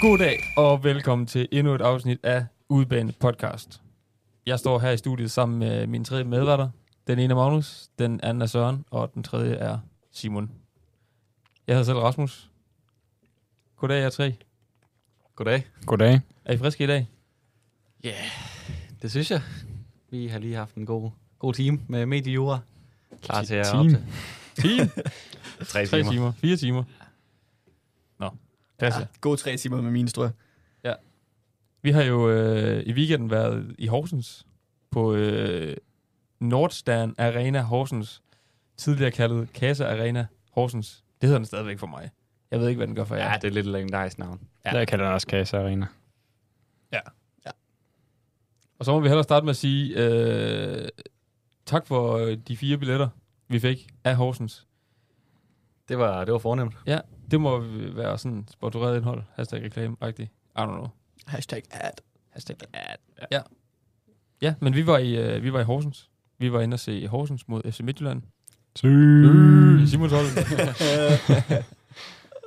God dag og velkommen til endnu et afsnit af Udbane Podcast. Jeg står her i studiet sammen med mine tre medværter. Den ene er Magnus, den anden er Søren, og den tredje er Simon. Jeg hedder selv Rasmus. Goddag, jer tre. Goddag. Goddag. Er I friske i dag? Ja, yeah, det synes jeg. Vi har lige haft en god, god time med mediejura. Klar til at Team. optage. Time? Tre Tre timer. Fire timer. Nå, pas ja. God tre timer med min tror jeg. Vi har jo øh, i weekenden været i Horsens på øh, Nordstern Arena Horsens, tidligere kaldet Kassa Arena Horsens. Det hedder den stadigvæk for mig. Jeg ved ikke, hvad den gør for jer. Ja, det er lidt et legendarisk navn. Ja. Ja. Jeg kalder den også Kasa Arena. Og så må vi hellere starte med at sige øh, tak for øh, de fire billetter, vi fik af Horsens. Det var, det var fornemt. Det må være sådan sponsoreret indhold. Hashtag reklame, rigtigt. I don't know. Hashtag ad. Hashtag ad. Ja. Ja, men vi var, i, øh, vi var i Horsens. Vi var inde og se Horsens mod FC Midtjylland. Mm. Øh, Simon Tolden.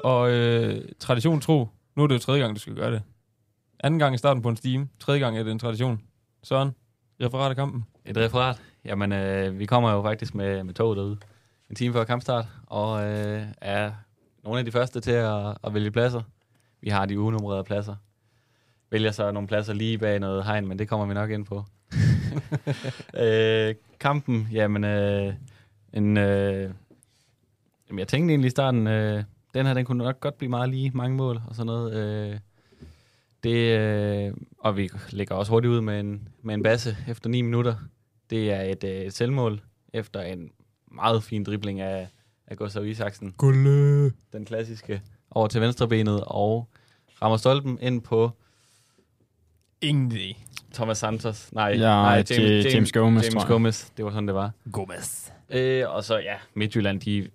og øh, tradition tro, nu er det jo tredje gang, du skal gøre det. Anden gang i starten på en stime, tredje gang er det en tradition. Søren, referat af kampen. Et referat. Jamen, øh, vi kommer jo faktisk med, med toget derude en time før kampstart, og øh, er nogle af de første til at, at vælge pladser. Vi har de unummererede pladser. Vælger så nogle pladser lige bag noget hegn, men det kommer vi nok ind på. øh, kampen, jamen, øh, en, øh, jamen, jeg tænkte egentlig i starten, øh, den her, den kunne nok godt blive meget lige, mange mål og sådan noget. Øh, det, øh, og vi lægger også hurtigt ud med en, med en basse efter 9 minutter. Det er et, øh, et selvmål efter en meget fin dribling af, af Gustav Isaksen. Gulle. Den klassiske over til venstrebenet og rammer stolpen ind på Ingen idé. Thomas Santos. Nej, Ja, nej James, James, James Gomez, James tror jeg. Gomez. Det var sådan, det var. Gomez. Øh, og så, ja, Midtjylland, de,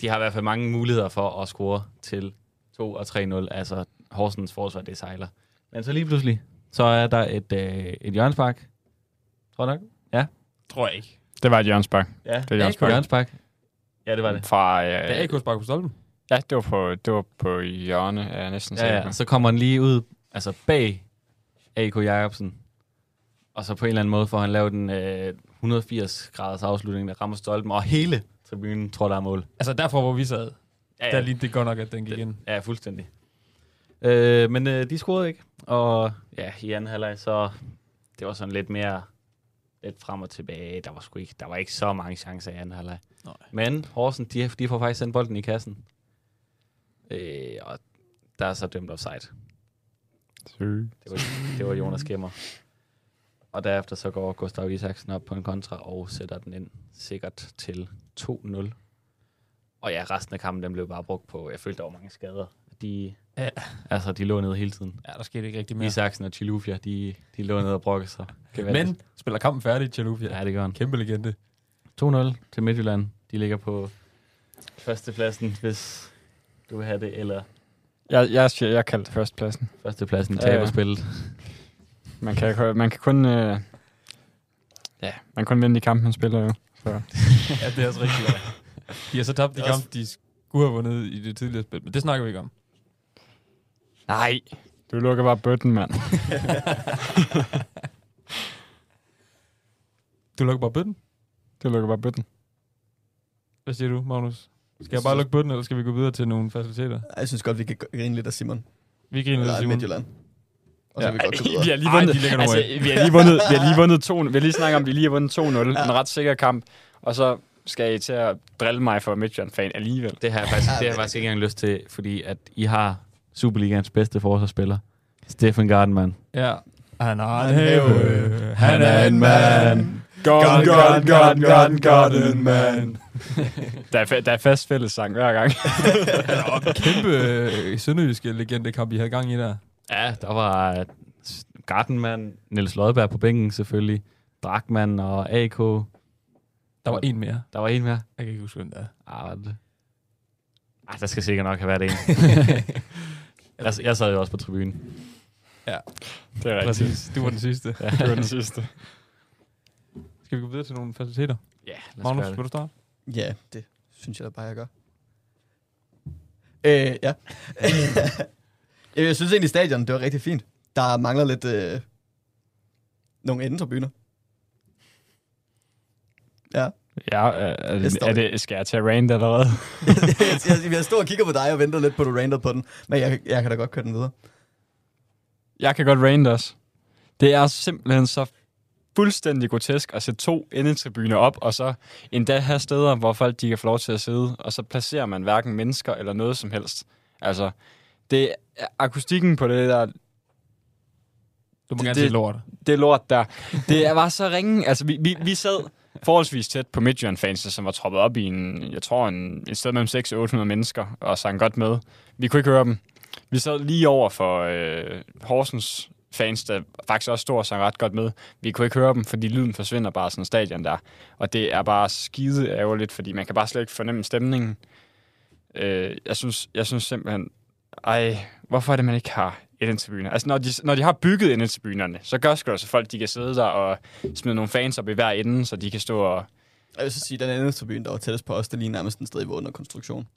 de har i hvert fald mange muligheder for at score til 2 og 3-0. Altså, Horsens forsvar, det sejler. Men så lige pludselig, så er der et, øh, et hjørnspark. Tror jeg nok? Tror jeg ikke. Det var et hjørnspark. Ja, Det er hjørnspark. hjørnspark. Ja, det var det. Fra, øh, Det er AK sparker på stolpen. ja, det var på, det var på hjørne, er jeg næsten Ja, sikker ja. på. Så kommer han lige ud, altså bag A.K. Jacobsen. Og så på en eller anden måde får han lavet en øh, 180-graders afslutning, der rammer stolpen, og hele tribunen tror, der er mål. Altså derfra, hvor vi sad, Ja, der lige det godt nok, at den gik ind. Ja, fuldstændig. Øh, men øh, de scorede ikke, og ja, i anden halvleg så det var sådan lidt mere lidt frem og tilbage. Der var sgu ikke, der var ikke så mange chancer i anden halvleg. Nej. Men Horsen, de, de får faktisk sendt bolden i kassen. Øh, og der er så dømt offside. Sø. Det var, det var Jonas Gemmer. Og derefter så går Gustav Isaksen op på en kontra og sætter den ind sikkert til 2-0. Og ja, resten af kampen den blev bare brugt på, jeg følte, der var mange skader. De, Ja. ja. Altså, de lå nede hele tiden. Ja, der skete ikke rigtig Ja. mere. Isaksen og Chilufya, de, de lå nede og brokkede sig. Gevaldigt. Men spiller kampen færdig, Tjalufia. Ja, det gør han. Kæmpe legende. 2-0 til Midtjylland. De ligger på førstepladsen, hvis du vil have det, eller Jeg, jeg, siger, jeg kaldte førstepladsen. førstepladsen i Ja, ja. taberspillet. Man kan, kun- man kan kun... Øh, ja, man kan kun vinde de kampe, man spiller jo. Ja, det er også rigtigt. De har så tabt de Det er også- kampe, de skulle have vundet i det tidligere spil, men det snakker vi ikke om. Nej. Du lukker bare bøtten, mand. Du lukker bare bøtten. Du lukker bare bøtten. Hvad siger du, Magnus? Skal jeg bare lukke bøtten, eller skal vi gå videre til nogle faciliteter? Jeg synes godt, vi kan grine lidt af Simon. Vi griner lidt, Eller af Simon. Midtjylland. Og så Ja. ja. vi godt gå vi videre. har lige Ej, vundet. de ligger nu altså, af. vi har lige vundet, vi har lige vundet 2 Vi har lige snakket om, at vi lige har vundet 2-0. En ret sikker kamp. Og så skal I til at drille mig for Midtjylland-fan alligevel. Det har jeg faktisk, det har jeg faktisk altså- ikke engang lyst til, fordi at I har Superligans bedste forsvarsspiller. Stefan Gardenman. Ja. Han har en have. øh, Han er en mand. Gun, gun, gun, gun, gun, man. der, er, fa- der er fast fælles sang hver gang. Kæmpe øh, sønderjyske legendekamp, I havde gang i der. Ja, der var Gardenman, Niels Lodberg på bænken selvfølgelig, Drakman og AK. Der var en mere. Der var en mere. Jeg kan ikke huske, hvem der er. Ah, var det det? Ah, der skal sikkert nok have været en. jeg, jeg sad jo også på tribunen. Det er rigtigt. Præcis. Du var den sidste. Det var den sidste. Skal vi gå videre til nogle faciliteter? Ja, lad os Magnus, gøre vil det. du starte? Ja, det synes jeg da bare, jeg gør. Øh, ja. Jeg, jeg synes egentlig, stadion, det var rigtig fint. Der mangler lidt øh, nogle endetribuner. Ja. Ja, er, er, Det det, står er det. det, skal jeg tage rant allerede? jeg, jeg, jeg står og kigger på dig og venter lidt på, at du rander på den. Men jeg, jeg kan da godt køre den videre. Jeg kan godt rant også. Det er simpelthen så fuldstændig grotesk at sætte to endetribuner op, og så endda have steder, hvor folk de kan få lov til at sidde, og så placerer man hverken mennesker eller noget som helst. Altså, det er akustikken på det der Du må Det- gerne det- sige lort. det lort der. Det var så ringe. Altså, vi, vi, vi sad forholdsvis tæt på Midtjylland-fansene, som var troppet op i en, jeg tror, en, et sted mellem 600 og 800 mennesker, og sang godt med. Vi kunne ikke høre dem. Vi sad lige over for øh, Horsens fans, der faktisk også stod og sang ret godt med. Vi kunne ikke høre dem, fordi lyden forsvinder bare sådan stadion der. Og det er bare skide ærgerligt, fordi man kan bare slet ikke fornemme stemningen. Øh, jeg, synes, jeg synes simpelthen, ej, hvorfor er det, man ikke har indendtribuner? Altså, når de, når de har bygget indendtribunerne, så gør sgu da, så folk de kan sidde der og smide nogle fans op i hver ende, så de kan stå og... Jeg vil så sige, at den endetribune, der var tættest på os, det lige nærmest en sted, hvor under konstruktion.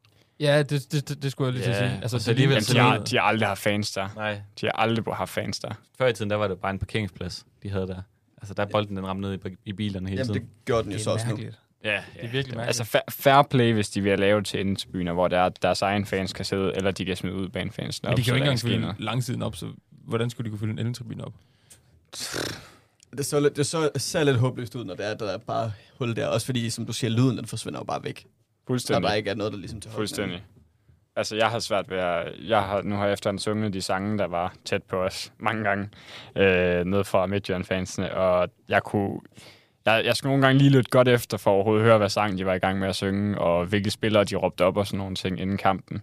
Ja, det, det, det, det skulle jeg lige til at Ja, sige. Altså, og så det er lige- alligevel Jamen, så de, har, det- de har aldrig haft fans der. Nej, De har aldrig haft fans der. før i tiden, der var det bare en parkeringsplads, de havde der. Altså, der er bolden, den ramte ned i, i bilerne hele Jamen, tiden. det gjorde den jo det så er også nu. mærkeligt. Ja, Det er virkelig mærkeligt. Altså, fa- fair play, hvis de vil lave det til indendtribuner, hvor der er deres egen fans kan sidde, eller de kan smide ud banefansen op. Men de kan så jo ikke der engang sker fylde noget. langsiden op, så hvordan skulle de kunne fylde en eltribune op? Det så, lidt, det så, ser lidt håbløst ud, når det er, at der er bare hul der. Også fordi, som du siger, lyden den forsvinder jo bare væk. Der Fuldstændig. bare ikke er noget, der ligesom til Fuldstændig. Altså, jeg har svært ved at... Jeg har, nu har jeg efterhånden sunget de sange, der var tæt på os mange gange, øh, ned fra Midtjylland-fansene, og jeg kunne... Jeg, jeg skulle nogle gange lige lytte godt efter, for at overhovedet høre, hvad sang de var i gang med at synge, og hvilke spillere de råbte op og sådan nogle ting inden kampen.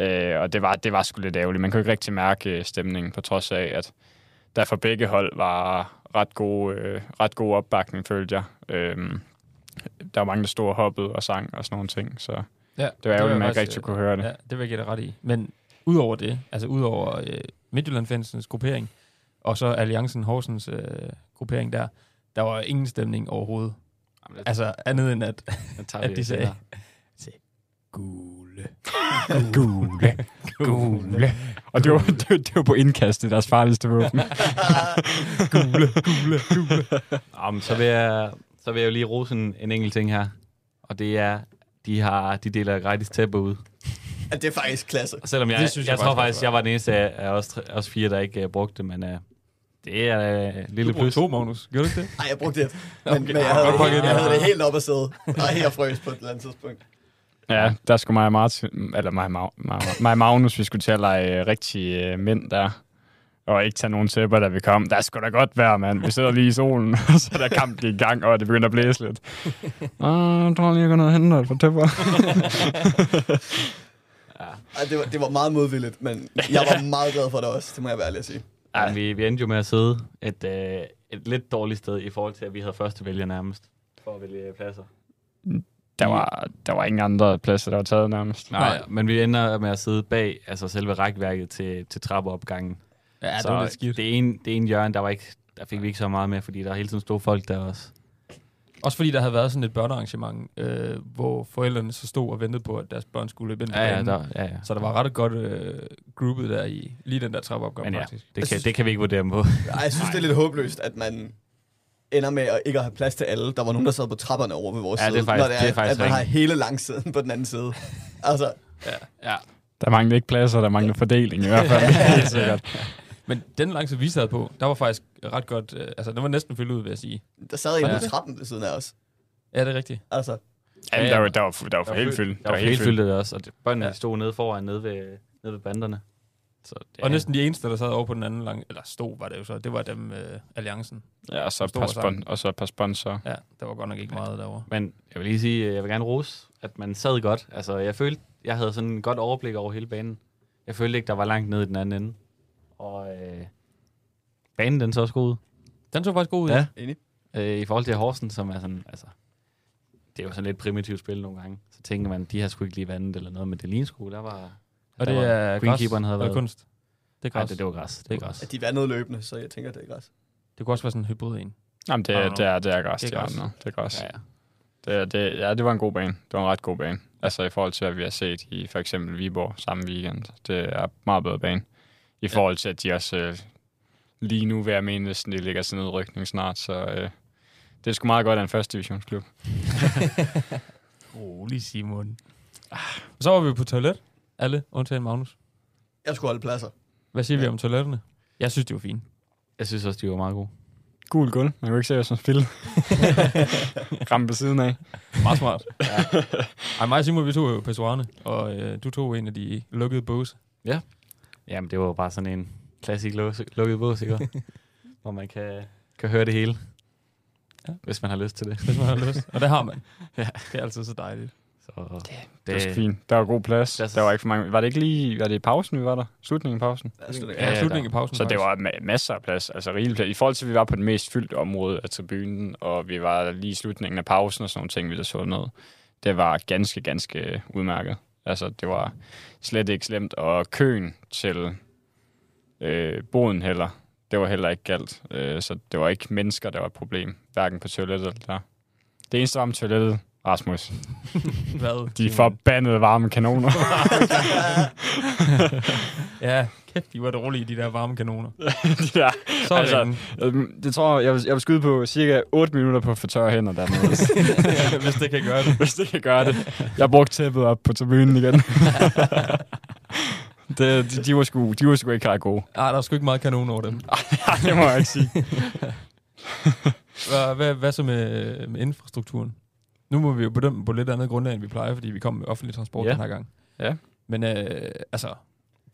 Øh, og det var, det var sgu lidt ærgerligt. Man kunne ikke rigtig mærke øh, stemningen, på trods af, at der for begge hold var ret god, øh, ret god opbakning, følte jeg. Øh, der var mange, der stod og hoppede og sang og sådan nogle ting, så... Ja, Det var ærgerligt, at man ikke faktisk, rigtig kunne høre det. Ja, det vil jeg give dig ret i. Men udover det, altså udover øh, Midtjylland-fansens gruppering, og så Alliancen Horsens øh, gruppering der, der var ingen stemning overhovedet. Jamen, det- Altså andet end at den tager at vi de sagde- senere. gule. Gule, gule. Og det var, det, var- det var på indkastet, deres farligste våben. Nå, men så vil, jeg, så vil jeg jo lige rose en, en enkelt ting her. Og det er, de, har, de deler gratis tæpper ud. At det er faktisk klasse. Og selvom jeg, Det jeg, synes jeg, jeg jeg tror faktisk faktisk, også. jeg var den eneste af, af os, tre- os fire, der ikke uh, brugte det, men uh, det er uh, lille Du brugte plus. to, Magnus. Gjorde du ikke det? Ej, jeg brugte det. Men, okay. men jeg, havde, Godt pakket jeg, jeg ind. havde det helt op at sidde. Og helt frøs på et eller andet tidspunkt. ja, der skulle mig og Martin, eller mig, og Mag- mig, og- mig og Magnus, vi skulle til at lege øh, rigtige øh, mænd der. Og ikke tage nogen tæpper, da vi kom. Der skulle da godt være, mand. Vi sidder lige i solen, og så er der kamp i gang, og det begynder at blæse lidt. Ah, jeg tror lige, jeg går ned og henter et par tæpper. Ej, det var, det var meget modvilligt, men jeg var meget glad for det også. Det må jeg være ærlig at sige. Men vi, vi endte jo med at sidde et, øh, et lidt dårligt sted i forhold til, at vi havde første vælger nærmest for at vælge pladser. Der var, der var ingen andre pladser, der var taget nærmest. Nej, men vi ender med at sidde bag altså selve rækværket til, til trappeopgangen. Ja, det så var lidt skidt. Det ene, det ene hjørne, der, var ikke, der fik vi ikke så meget med, fordi der hele tiden stod folk der også. Også fordi der havde været sådan et børnearrangement, øh, hvor forældrene så stod og ventede på, at deres børn skulle løbe ind på Ja, ja, banen. der, ja, ja. Så der var ret godt øh, groupet der i lige den der trappeopgang Men ja, faktisk. det kan, det kan vi ikke vurdere dem på. Ej, jeg synes, det er lidt håbløst, at man ender med at ikke at have plads til alle. Der var nogen, der sad på trapperne over ved vores Ja, det er side. faktisk- når det er, det er faktisk at man har hele langsiden på den anden side. Altså, Ja. Der manglede ikke pladser, der manglede fordeling i hvert fald. Helt sikkert. Men den langse, vi sad på, der var faktisk ret godt... Øh, altså, den var næsten fyldt ud, vil jeg sige. der sad en Ja. på trappen ved siden af os. Ja, det er rigtigt. Altså, Ja, der var, der var, der var for helt fyldt. Der var helt fyldt det også, og det- børnene Ja. ja. stod nede foran, nede ved, nede ved banderne. Så det, Og næsten de eneste, der sad over på den anden lang... Eller stod, var det jo så. Det var dem, øh, Alliancen. Ja, og så et Stor par, sang. spon- og så et par sponsorer. Ja, der var godt nok ikke meget derovre. Men jeg vil lige sige, øh, jeg vil gerne rose, at man sad godt. Altså, jeg følte, jeg havde sådan en godt overblik over hele banen. Jeg følte ikke, der var langt ned i den anden ende. Og øh, banen, den så også god ud. Den så faktisk god ud. Ja. enig. Øh, I forhold til Horsen, som er sådan, altså, det er jo sådan lidt primitivt spil nogle gange. Så tænker man, de har sgu ikke lige vandet eller noget, men det lignede sgu, der var... Og der det var, er græs. Greenkeeperen havde eller været... kunst. Det er Nej, græs. det, det var græs. Det er græs. At de vandede løbende, så jeg tænker, det er græs. Det kunne også være sådan en hybrid en. Jamen, det, Nå, nå. er, det, er, det er græs. Ah, Det Det er græs. er græs. Det er græs. Ja, Ja. ja. Det, er- det, ja, det var en god bane. Det var en ret god bane. Altså i forhold til, hvad vi har set i for eksempel Viborg samme weekend. Det er meget bedre bane. i forhold til, at de også øh, lige nu, hvad jeg mener, næsten, de ligger sådan nedrykning snart, så øh, det er sgu meget godt af en første divisionsklub. Rolig, Simon. Så var vi på toilet. Alle, undtagen Magnus. Jeg skulle holde pladser. Hvad siger ja. vi Ja. om toiletterne? Jeg synes, det var fint. Jeg synes også, de var meget gode. Gul guld. Man kunne ikke se, hvad som spillede. Ramme på siden af. Meget smart. ja. Ej, mig og Simon, vi tog jo pessoarerne, og øh, du tog en af de lukkede båse. Jamen, det var jo bare sådan en klassisk låse- lukket bås, ikke? også? Hvor man kan, kan høre det hele. Ja. Ja. Hvis man har lyst til det. hvis man har lyst. Og det har man. Ja. Det er altid så dejligt. Så, Det var sgu fint. Der var god plads. Plads. Der var ikke for mange. Var det ikke lige... Var det i pausen, vi var der? Slutningen af pausen? Jeg skulle Ja, ja. ja, ja, der- slutningen af pausen. Så det faktisk. var ma- masser af plads, altså rigelig plads. I forhold til, at vi var på det mest fyldte område af tribunen, og vi var lige i slutningen af pausen og sådan nogle ting, vi der så noget. Det var ganske, ganske udmærket. Altså, det var slet ikke slemt. Og køen til øh, boden heller, det var heller ikke galt. Øh, så det var ikke mennesker, der var et problem. Hverken på toilettet eller der. Det eneste var om toilettet, Rasmus. Hvad? De Simon? forbandede varme kanoner. Ja, kæft, de var dårlige, de der varme kanoner. de der Så Altså- altså, Øhm, Det tror jeg, jeg vil, jeg vil skyde på cirka 8 minutter på at få tørre hænder dernede, hvis- hvis det kan gøre det. hvis det kan gøre det. Jeg brugte tæppet op på tribunen igen. det, de, de, var sgu, de var sgu ikke ret gode. Ah, der er sgu ikke meget kanon over dem. Ej, det må jeg ikke sige. Hvad, hvad, hvad så med, med infrastrukturen? Nu må vi jo bedømme på lidt andet grundlag, end vi plejer, fordi vi kom med offentlig transport Ja. den her gang. Ja. Men øh, altså,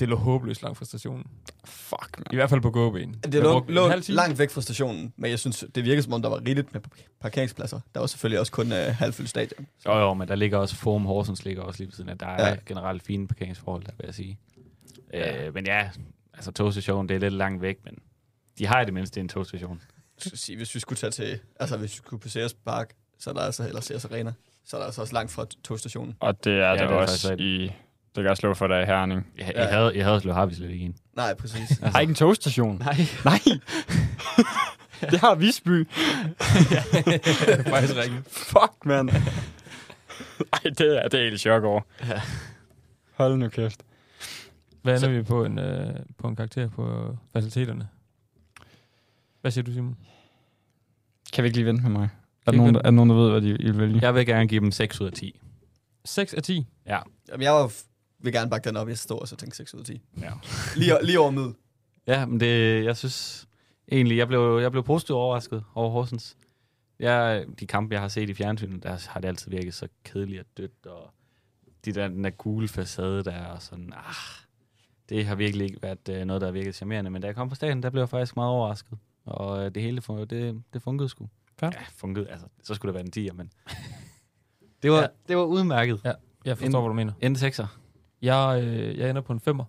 det lå håbløst langt fra stationen. Fuck, man. I hvert fald på gåben. Det Jeg lå, brugte en lå halv time. langt væk fra stationen, men jeg synes, det virkede som om, der var rigeligt med parkeringspladser. Der var selvfølgelig også kun øh, halvfyldt stadion. Jo, jo, men der ligger også Forum Horsens ligger også lige ved siden af. Der er Ja. ja. generelt fine parkeringsforhold, der vil jeg sige. Ja. Øh, men ja, altså togstationen, det er lidt langt væk, men de har i det mindste en togstation. Jeg skal sige, hvis vi skulle tage til, altså hvis vi skulle på Ceres Park, så er der altså, eller Ceres Arena, så er der altså også langt fra togstationen. Og det er ja, det der er det faktisk også rigtigt. i... Det kan jeg slå for dig i Herning. Jeg, ja. Ja. jeg havde, jeg havde slået Harvey slet ikke en. Nej, præcis. Har I ikke en togstation? Nej. Nej. det har Visby. Det er faktisk rigtigt. Fuck, man. Ej, det er, det er helt chok over. Ja. Hold nu kæft. Hvad ender vi på en, øh, på en karakter på faciliteterne? Hvad siger du, Simon? Kan vi ikke lige vente med mig? Er Kan I der, nogen, vente? der, er der nogen, der ved, hvad de I vil vælge? Jeg vil gerne give dem 6 ud af 10. 6 af 10. Jamen, jeg var, vil gerne bakke den op. Jeg stod og så tænkte 6 ud af 10. Ja. Lige, lige over middel. Ja, men det, jeg synes egentlig, jeg blev, jeg blev positivt overrasket over Horsens. Jeg, de kampe, jeg har set i fjernsynet, der har det altid virket så kedeligt og dødt, og de der, den der gule facade der, og sådan, ah, det har virkelig ikke været øh, noget, der har virket charmerende. Men da jeg kom på stadion, der blev jeg faktisk meget overrasket, og øh, det hele fun- det, det fungerede sgu. Ja. fungerede, altså, så skulle det være en 10'er, men det var, Ja. ja. det var udmærket. Jeg forstår, En- hvad du mener. En 6'er. Jeg, øh, jeg ender på en femmer.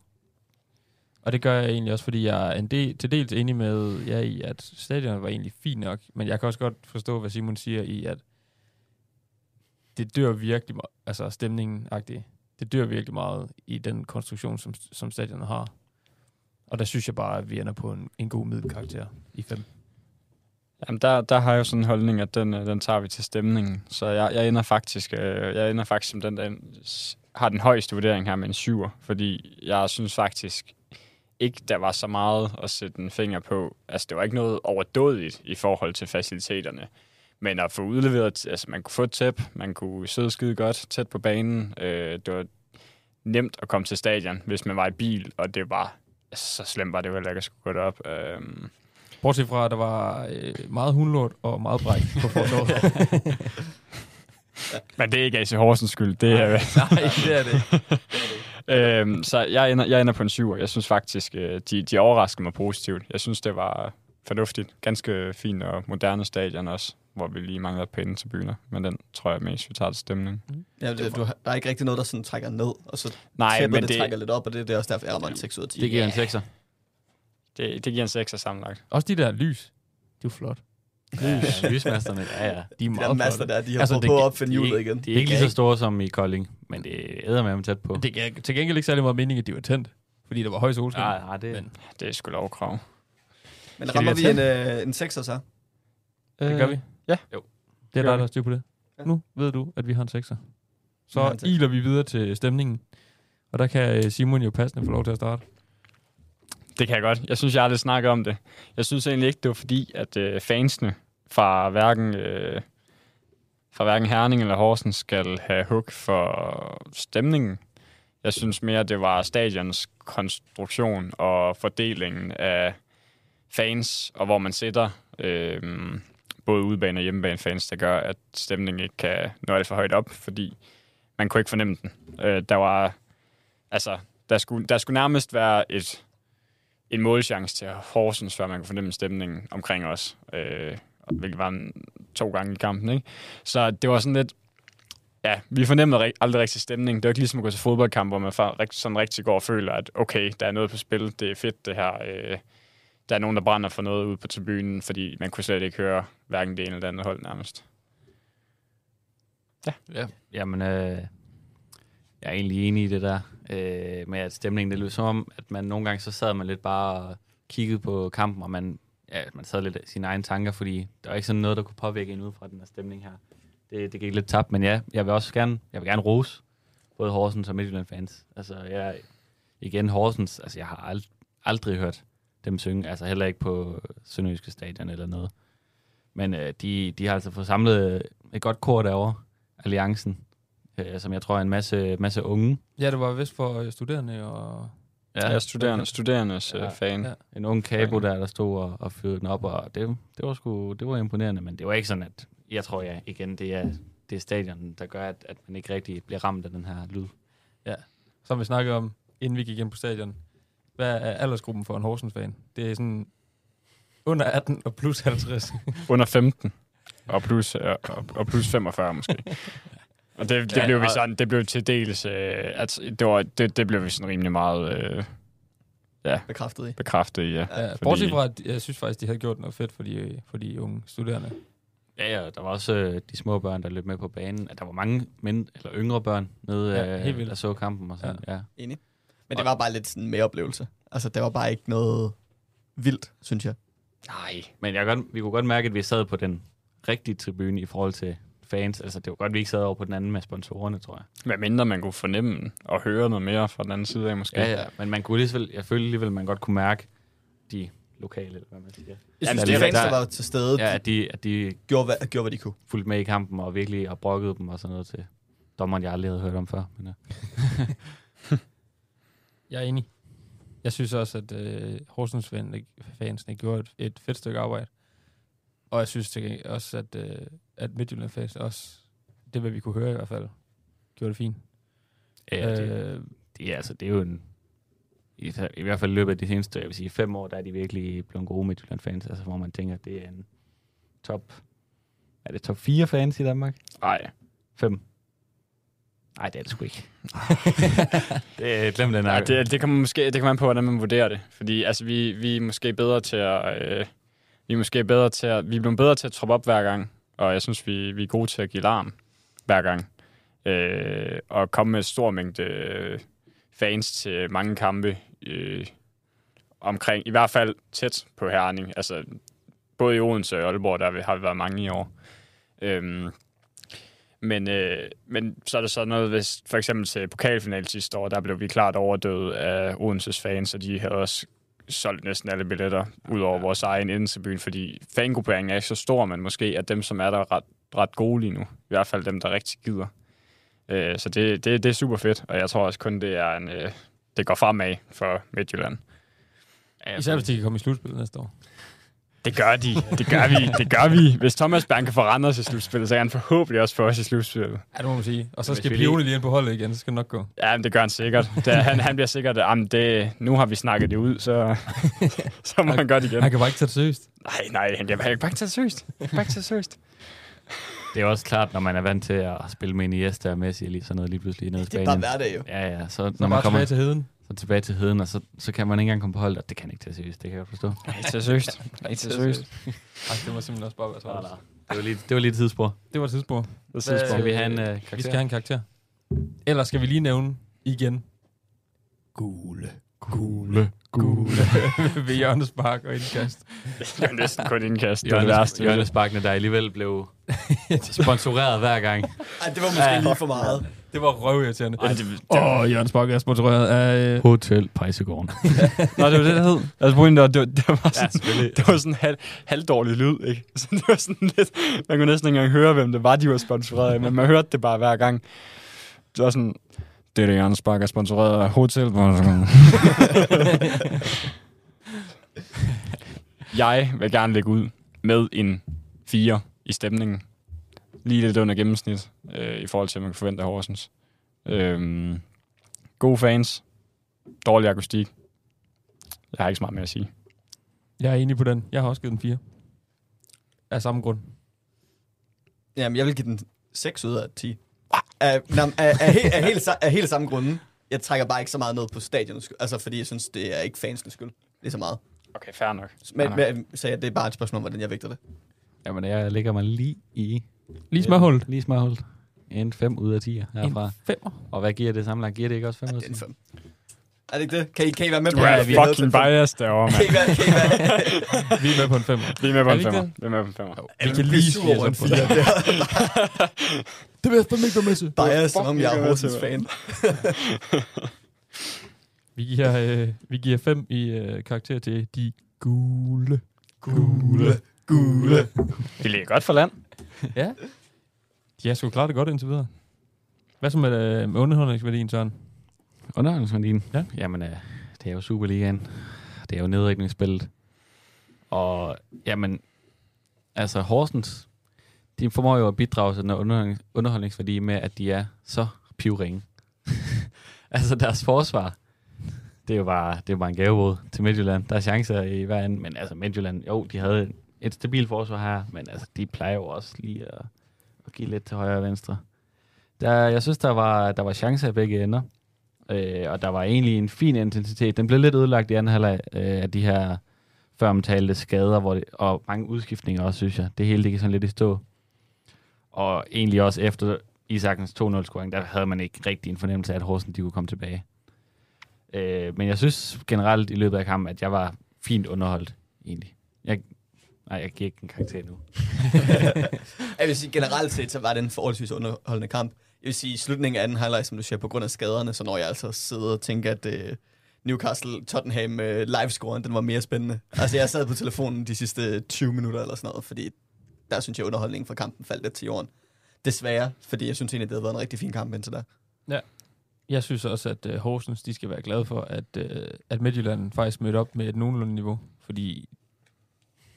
Og det gør jeg egentlig også, fordi jeg er en del, til dels enig med jer i, at stadionet var egentlig fint nok. Men jeg kan også godt forstå, hvad Simon siger i, at det dør virkelig meget, altså stemningen -agtigt. Det dør virkelig meget i den konstruktion, som, som stadionet har. Og der synes jeg bare, at vi ender på en, en god middelkarakter i fem. Jamen, der, der har jeg jo sådan en holdning, at den, øh, den tager vi til stemningen. Så jeg, jeg ender faktisk, øh, jeg ender faktisk som den, der s- har den højeste vurdering her med en syver, fordi jeg synes faktisk ikke, der var så meget at sætte en finger på. Altså, det var ikke noget overdådigt i forhold til faciliteterne. Men at få udleveret, altså man kunne få et tæp, man kunne sidde skide godt tæt på banen. Øh, det var nemt at komme til stadion, hvis man var i bil, og det var altså, så slemt var det jo heller ikke at skulle gå derop. Øh, Bortset fra, at der var øh, meget hundlort og meget bræk på fortorvet. Men det er ikke AC Horsens skyld, det er... Nej, det er det. ikke. øhm, så jeg ender, jeg ender på en syver. Jeg synes faktisk, øh, de, de overraskede mig positivt. Jeg synes, det var fornuftigt. Ganske fint og moderne stadion også, hvor vi lige mangler pæne tribuner. Men den tror jeg mest, vi tager til stemning. Ja, det, du, har- der er ikke rigtig noget, der sådan trækker ned, og så Nej, tæpper men det, det- trækker lidt op, og det, det er også derfor, jeg rammer en 6 ud af 10. Det giver en 6'er. Det, det giver en 6 sammenlagt. Også de der lys. Det er jo flot. Ja, lysmasterne, ja, ja. De er De meget der flotte. master der, de har Altså, altså, det på at gi- opfinde det hjulet ikke- igen. De er ikke lige kan så store som i Kolding, men det æder med dem tæt på. Det gav til gengæld ikke særlig meget mening, at de var tændt, fordi der var høj solskin. Nej, nej, Ah, det, Men- Det er sgu lovkrav. Men Skal rammer vi vi en, øh, en 6'er så? Det gør vi. ja. Jo. Det er Gør dig, vi. der har styr på det. Ja. Nu ved du, at vi har en sekser. Vi har Så en sekser. iler vi videre til stemningen. Og der kan øh, Simon jo passende få lov til at starte. Det kan jeg godt. Jeg synes, jeg har lidt snakket om det. Jeg synes egentlig ikke, det var fordi, at øh, fansene fra hverken, øh, fra hverken Herning eller Horsens skal have hug for stemningen. Jeg synes mere, det var stadions konstruktion og fordelingen af fans, og hvor man sætter øh, både udebane og hjemmebane fans, der gør, at stemningen ikke kan nå det for højt op, fordi man kunne ikke fornemme den. Øh, der var, altså, der skulle, der skulle nærmest være et en målchance til Horsens, før man kunne fornemme stemningen omkring os. Øh, hvilket var en, to gange i kampen, ikke? Så det var sådan lidt... Ja, vi fornemmede rig- aldrig rigtig stemning. Det var ikke ligesom at gå til fodboldkamp, hvor man fa- rigt- sådan rigtig går og føler, at okay, der er noget på spil, det er fedt det her. Øh, der er nogen, der brænder for noget ude på tribunen, fordi man kunne slet ikke høre hverken det ene eller det andet hold nærmest. Ja. Jamen, øh, jeg er egentlig enig i det der øh, med, at stemningen, det lød som om, at man nogle gange så sad man lidt bare og kiggede på kampen, og man, ja, man sad lidt af sine egne tanker, fordi der var ikke sådan noget, der kunne påvirke en ud fra den her stemning her. Det, det gik lidt tabt, men ja, jeg vil også gerne, jeg vil gerne rose både Horsens og Midtjylland fans. Altså, jeg, igen, Horsens, altså jeg har ald- aldrig hørt dem synge, altså heller ikke på Sønderjyske Stadion eller noget. Men øh, de, de har altså fået samlet et godt kor derovre, Alliancen, øh, som jeg tror er en masse, masse unge. Ja, det var vist for øh, studerende og... Ja, ja studerende, studerendes Ja, øh, fan. ja. Ja. En ung kabo der, der stod og, og fyrede den op, og det, det var sgu, det var imponerende, men det var ikke sådan, at jeg tror, ja, igen, det er, det er stadion, der gør, at, at man ikke rigtig bliver ramt af den her lyd. Som vi snakkede om, inden vi gik ind på stadion. Hvad er aldersgruppen for en Horsens-fan? Det er sådan under 18 og plus 50. Under 15. Og plus, og, og- og plus 45 måske. Og det, det Ja, blev vi og- sådan, det blev til dels, øh, at det, var, det, det blev vi sådan rimelig meget øh, bekræftet i. bekræftet i, ja. ja, fordi- bortset fra, at jeg synes faktisk, de havde gjort noget fedt for de, øh, for de unge studerende. Ja, ja, der var også øh, de små børn, der løb med på banen. At der var mange mænd, eller yngre børn nede, Ja, ja, helt øh, vildt. der så kampen og sådan. Ja. ja. Enig. Men det var bare lidt sådan en oplevelse. Altså, der var bare ikke noget vildt, synes jeg. Nej, men jeg kan godt, vi kunne godt mærke, at vi sad på den rigtige tribune i forhold til fans. Altså, det var godt, at vi ikke sad over på den anden med sponsorerne, tror jeg. Hvad mindre man kunne fornemme og høre noget mere fra den anden side af, måske. Ja, ja, men man kunne alligevel, jeg følte alligevel, man godt kunne mærke de lokale, eller hvad man siger. Jeg Jamen, det synes, Altså, de er fans, rigtigt. der var til stede, Ja, ja. de at de, at de gjorde, hvad, gjorde, hvad de kunne. fulgte med i kampen og virkelig og brokkede dem og sådan noget til dommeren, jeg aldrig havde hørt om før. Men, ja. Jeg er enig. Jeg synes også, at øh, Horsens fan- fansene gjorde et, et fedt stykke arbejde. Og jeg synes til gengæld også, at, øh, at Midtjylland fans også, det hvad vi kunne høre i hvert fald, gjorde det fint. Ja, det, øh, det, er, altså, det er jo en... I, i hvert fald i løbet af de seneste, jeg vil sige, fem år, der er de virkelig blevet gode Midtjylland-fans, altså hvor man tænker, det er en top... Er det top 4 fans i Danmark? Nej. 5? Nej, det er det sgu ikke. det er glem den Nej, det, det, kommer måske, det kommer an på, hvordan man vurderer det. Fordi altså, vi, vi er måske bedre til at... Øh, vi er måske bedre til at... Vi er blevet bedre til at troppe op hver gang. Og jeg synes, vi, vi er gode til at give larm hver gang. Øh, og komme med en stor mængde øh, fans til mange kampe øh, omkring, i hvert fald tæt på Herning. Altså, både i Odense og Aalborg, der har vi været mange i år. Øhm, men, øh, men så er der så noget, hvis for eksempel til pokalfinalen sidste år, der blev vi klart overdøvet af Odenses fans, og de havde også solgt næsten alle billetter, ud over vores egen indensebyen, fordi fangrupperingen er ikke så stor, men måske at dem, som er der er ret, ret gode lige nu. I hvert fald dem, der rigtig gider. Øh, så det, det, det er super fedt, og jeg tror også kun, det er en, øh, det går fremad for Midtjylland. især hvis de kan komme i slutspillet næste år. Det gør de. Det gør vi. Det gør vi. Hvis Thomas Bang kan få Randers i slutspillet, så er han forhåbentlig også for os i slutspillet. Ja, det må man sige. Og så Hvis skal vi Pione lige ind på holdet igen, så skal det nok gå. Ja, men det gør han sikkert. Det, er- han, han bliver sikkert, at det, nu har vi snakket det ud, så, så må han godt igen. Han kan bare ikke tage det seriøst. Nej, nej, han bliver han kan bare ikke tage det seriøst. Han kan Bare ikke tage det seriøst. det er også klart, når man er vant til at spille med E Iniesta og Messi eller sådan noget lige pludselig nede i Det er Spanien. bare hverdag jo. Ja, ja, så, Så når man bare kommer tilbage til heden. så tilbage til heden, og så, så kan man ikke engang komme på hold, og det kan ikke tage seriøst, det kan jeg godt forstå. Nej, tage det seriøst. Nej, tage det seriøst. Ej, det må simpelthen også bare være træls. Det var lige, det var lige et tidsspor. Det var tidspunkt. Det synes Hvad- jeg. Skal vi have en øh, karakter? Vi skal have en karakter. Ellers skal vi lige nævne igen Gule. Gule. Gule. Ved Jørgens Park og indkast. Det er næsten kun indkast. Det er det Jørnes, værste. Jørnes Bakkene, der alligevel blev sponsoreret hver gang. Ej, det var måske lige for meget. Det var røvirriterende. Ej, det, det, Åh, oh, Jørgens Bok er sponsoreret af... øh, Hotel Pejsegården. Nå, det var det, der hed. Altså, pointen var, det, var, det var sådan, selvfølgelig. det var sådan halv, halvdårlig lyd, ikke? Så det var sådan lidt... Man kunne næsten ikke engang høre, hvem det var, de var sponsoreret af, men man hørte det bare hver gang. Det var sådan... Det er det, Jørgens Bak er sponsoreret af Hotel. jeg vil gerne lægge ud med en 4 i stemningen. Lige lidt under gennemsnit, øh, i forhold til, hvad man kan forvente af Horsens. Øhm, gode fans. Dårlig akustik. Jeg har ikke så meget mere at sige. Jeg er enig på den. Jeg har også givet den 4. Af samme grund. Jamen, jeg vil give den 6 ud af 10. Af, nam, af, af, he, af, helt, sa- af helt samme grunde. Jeg trækker bare ikke så meget ned på stadionets skyld. Altså, fordi jeg synes, det er ikke fansens skyld. Det er så meget. Okay, fair nok. Men, men så ja, det er bare et spørgsmål om, hvordan jeg vægter det. Jamen, jeg ligger mig lige i... Lige smørhullet. Lige smørhullet. En 5 ud af 10 herfra. femmer. Og hvad giver det sammenlagt? Giver det ikke også 5 ud Ja, af det er en 10? 5. Er det ikke det? Kan I, kan I være med Du på er at vi nede fucking på en fem? biased derovre, Kan mand. I være, kan I være, Vi er med på en femmer. Vi er med på Er vi ikke det? en femmer. Vi er med på en femmer. Jeg kan kan lige lige sur sige over en så på 4. Det er Det vil jeg fandme ikke være med til. bare som om jeg Fuck, er jeg Horsens kan være fan. Vi giver, øh, vi giver 5 i øh, karakter til de gule. Gule, gule. Vi ligger godt for land. De har sgu klart det godt indtil videre. Hvad så med, øh, med underholdningsværdien, Søren? Underholdningsværdien? Ja. altså Jamen, øh, det er jo Superligaen. Det er jo nedrykningsspillet. Og jamen, altså Horsens, de formår jo at bidrage til den her underholdnings- underholdningsværdi med, at de er så pivringe. altså deres forsvar, det er jo bare, det er jo bare en gavebod til Midtjylland. Der er chancer i hver anden, men altså Midtjylland, jo, de havde et stabilt forsvar her, men altså, de plejer jo også lige at, at give lidt til højre og venstre. Der, jeg synes, der var, der var chancer i begge ender. Øh, og der var egentlig en fin intensitet. Den blev lidt ødelagt i anden halvleg øh, af de her føromtalte skader, hvor det, og mange udskiftninger også, synes jeg. Det hele det gik sådan lidt i stå. Og egentlig også efter Isakens 2-0-scoring, der havde man ikke rigtig en fornemmelse af, at Horsen de kunne komme tilbage. Øh, men jeg synes generelt i løbet af kampen, at jeg var fint underholdt, egentlig. Jeg, nej, jeg giver ikke en karakter nu. Jeg vil sige, generelt set, så var det en forholdsvis underholdende kamp. Jeg vil sige, i slutningen af anden halvleg, som du siger, på grund af skaderne, så når jeg altså sidder og tænker, at øh, Newcastle-Tottenham øh, livescoren, den var mere spændende. Altså, jeg sad på telefonen de sidste 20 minutter eller sådan noget, fordi der synes jeg, underholdningen fra kampen faldt lidt til jorden. Desværre, fordi jeg synes egentlig, det havde været en rigtig fin kamp indtil da. Jeg synes også, at øh, Horsens de skal være glade for, at, øh, at Midtjylland faktisk mødte op med et nogenlunde niveau, fordi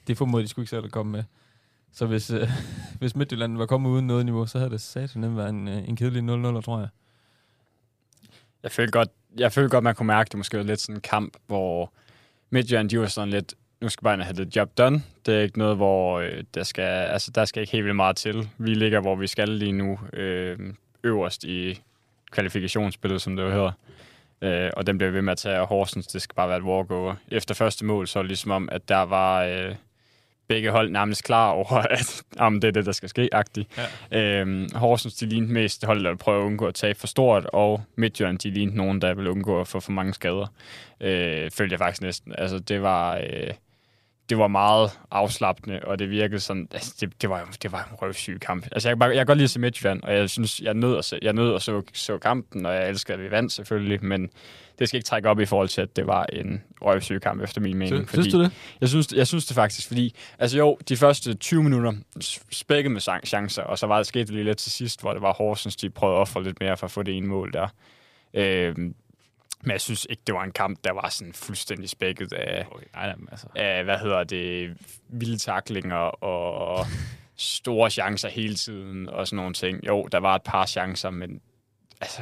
det formåede de skulle ikke selv at komme med. Så hvis, øh, hvis Midtjylland var kommet uden noget niveau, så havde det satan nemt været en, øh, en kedelig 0-0, tror jeg. Jeg følte godt, jeg følte godt man kunne mærke, det måske var lidt sådan en kamp, hvor Midtjylland, de var sådan lidt, nu skal bare have det job done. Det er ikke noget, hvor øh, der, skal, altså, der skal ikke helt vildt meget til. Vi ligger, hvor vi skal lige nu, øh, øverst i kvalifikationsspillet, som det jo hedder. Øh, og den bliver vi ved med at tage, og Horsens, det skal bare være et walkover. Efter første mål, så er det ligesom om, at der var øh, begge hold nærmest klar over, at om det er det, der skal ske, agtigt. Øhm, Horsens, de lignede mest hold, der prøvede at undgå at tabe for stort, og Midtjylland, de lignede nogen, der ville undgå at få for mange skader. Øh, følte jeg faktisk næsten. Altså, det var, øh, det var meget afslappende, og det virkede sådan, altså, det, det, var, jo- det var en røvsyg kamp. Altså, jeg, kan bare, jeg kan godt lide at se Midtjylland, og jeg synes, jeg nød at se, jeg nød at så, så kampen, og jeg elsker, at vi vandt selvfølgelig, men det skal ikke trække op i forhold til, at det var en røvsyg kamp, efter min mening. Synes, synes du det? Jeg synes, jeg synes det faktisk, fordi altså jo, de første 20 minutter s- spækket med sang- chancer, og så var det sket lige lidt til sidst, hvor det var Horsens, de prøvede at ofre lidt mere for at få det ene mål der. Øhm, men jeg synes ikke, det var en kamp, der var sådan fuldstændig spækket af, Okay, nej, jamen, altså. af hvad hedder det, vilde taklinger og store chancer hele tiden og sådan nogle ting. Jo, der var et par chancer, men altså,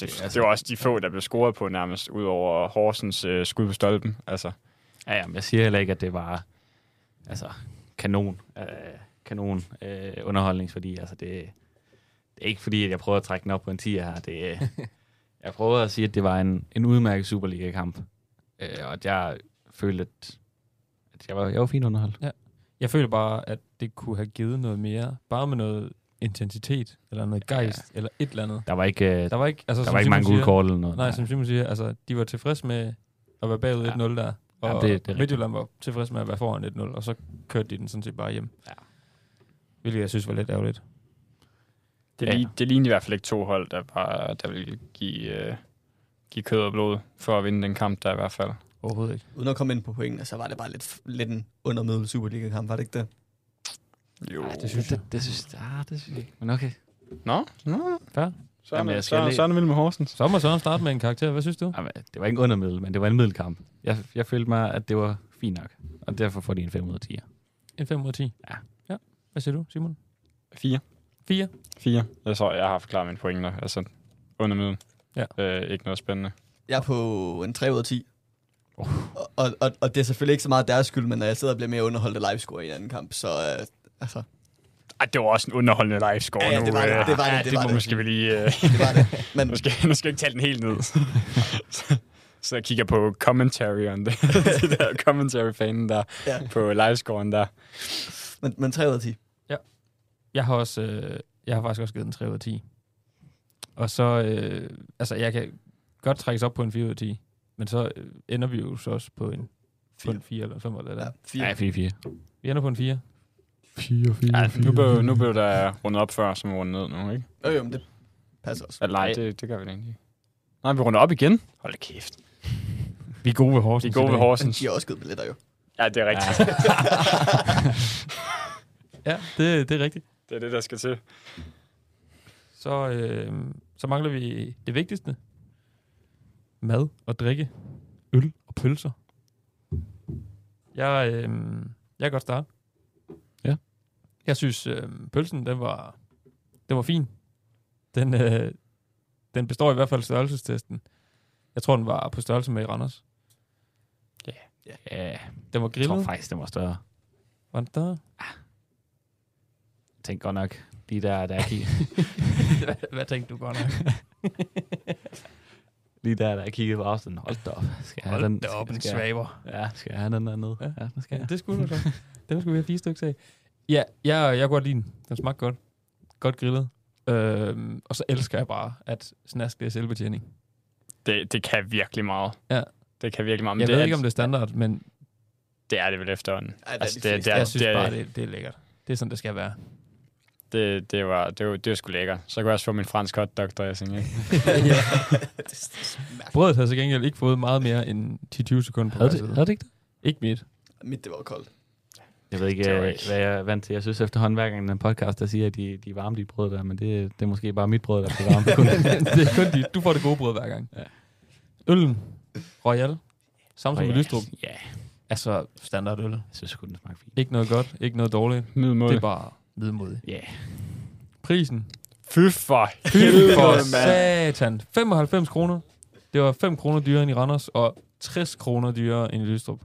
det, det var også de få, der blev scoret på nærmest, ud over Horsens øh, skud på stolpen. Altså, Ja, ja, men jeg siger heller ikke, at det var altså, kanon, øh, kanon øh, underholdningsværdi. Altså, det, det er ikke fordi, at jeg prøver at trække den op på en 10 her. Det, øh, jeg prøver at sige, at det var en, en udmærket Superliga-kamp. Øh, og at jeg følte, at, at jeg, var, jeg var fint underholdt. Jeg føler bare, at det kunne have givet noget mere, bare med noget intensitet, eller noget gejst, ja. eller et eller andet. Der var ikke, øh, Der der, var ikke, altså, der som var ikke Simon mange gule siger- kort eller noget. Nej, som Simon siger, altså, de var tilfredse med at være bagud Ja. 1-0 der. Og ja, Ja, det- det er rigtigt. Midtjylland var tilfredse med at være foran 1-0, og så kørte de den sådan set bare hjem. Ja. Hvilket jeg synes var lidt ærgerligt. Det, Ja. ja. lig, det lignede i hvert fald ikke to hold, der, bare, der ville give, øh, give kød og blod for at vinde den kamp der i hvert fald. Overhovedet ikke. Uden at komme ind på pointene, så var det bare lidt, lidt en undermiddel Superliga-kamp, var det ikke det? Jo. Ej, det synes jeg. Det, det synes jeg, ah, det synes jeg ikke. Men okay. Nå, nå. Fair. Så Jamen, jeg skal er lige- Søren vild med Horsens. Så må Søren starte med en karakter. Hvad synes du? Jamen, det var ikke en undermiddel, men det var en middelkamp. Jeg, jeg følte mig, at det var fint nok. Og derfor får de en 5 ud af 10. En 5 ud af 10. Ja. ja. Hvad siger du, Simon? Fire. 4. Fire. Jeg tror, jeg har forklaret mine pointer. Altså, under midten. Ja. Øh, ikke noget spændende. Jeg er på en 3 ud af 10. Oh. Og, og, og, det er selvfølgelig ikke så meget deres skyld, men når jeg sidder og bliver mere underholdt af livescore i en anden kamp, så øh, altså, Ej, det var også en underholdende live score Ja, ja, det var det, nu. øh. det var det, Ja, det det var må det. måske vi lige... Øh, det var det. Men nu, skal, nu skal jeg ikke tale den helt ned. Så- så jeg kigger på commentary on det. det der commentary-fanen der Ja. på livescoren der. Men, men 3 ud af 10. Jeg har, også, øh, jeg har faktisk også givet den 3 ud af 10. Og så, øh, altså jeg kan godt trækkes op på en 4 ud af 10, men så øh, ender vi jo så også på en, på en 4 eller 5 eller hvad der. Ja, Ja. 4. 4, 4. Vi ender på en 4. 4, 4, ja, nu, blev, nu blev der rundet op før, som rundet ned nu, ikke? Jo, jo, men det passer også. Eller nej, Nej. det, det gør vi da egentlig. ikke. Nej, vi runder op igen. Hold da kæft. Vi er gode ved Vi er Horsens. gode i ved dag. Men Horsens. de har også givet billetter jo. Ja, det er rigtigt. Ja. Ja, det, det er rigtigt. Det er det, der skal til. Så, øh, så mangler vi det vigtigste. Mad og drikke. Øl og pølser. Jeg, øh, jeg kan godt starte. Ja. Jeg synes, øh, pølsen, den var, den var fin. Den, øh, den består i hvert fald størrelsestesten. Jeg tror, den var på størrelse med i Randers. Ja, Den var øh, jeg tror grillet. faktisk, det var større. Var den der? Jeg tænkte godt nok, lige der, der jeg kiggede, hvad, hvad tænkte du godt nok? lige der, der jeg kiggede på afstand. Hold da op. Skal jeg have den, Hold da op, en skal, skal, svaber. ja, skal jeg have den der nede? Ja. Ja, ja den skal Ja, jeg. det skulle du da. Dem skulle vi have fire stykker af. Ja, jeg, jeg kan godt lide den. Den smagte godt. Godt grillet. Øhm, og så elsker jeg bare, at snask det er selvbetjening. Det, det kan virkelig meget. Ja. Det kan virkelig meget. jeg det ved er- ikke, om det er standard, men Det er det vel efterhånden. Ej, det er altså, de det, det, fleste. er, jeg synes det, er, bare, det, det er lækkert. Det er sådan, det skal være. det, det, var, det, var, det var sgu lækkert. Så kunne jeg også få min fransk hotdog dressing, ikke? ja. det, det smager. Brødet havde så gengæld ikke fået meget mere end 10-20 sekunder på Havde hver det, side. havde det ikke det? Ikke mit. Mit, det var koldt. Jeg ved ikke, Det var øh, ikke- hvad jeg er vant til. Jeg synes efterhånden, hver gang i den podcast, der siger, at de, de er varme, de brød der, men det, det er måske bare mit brød, der bliver varme. Kun. det er kun dit. Du får det gode brød hver gang. Ja. Øllen. Royal. Samsung Og med ja, Lystrup. Ja, Altså, standardøl. jeg synes sgu, den smagte fint. Ikke noget godt, ikke noget dårligt. Middelmål. Det er bare middelmodigt. Ja. Prisen. Fy for Fy for helvede, mand. satan. 95 kroner. Det var 5 kroner dyrere end i Randers, og 60 kroner dyrere end i Lystrup.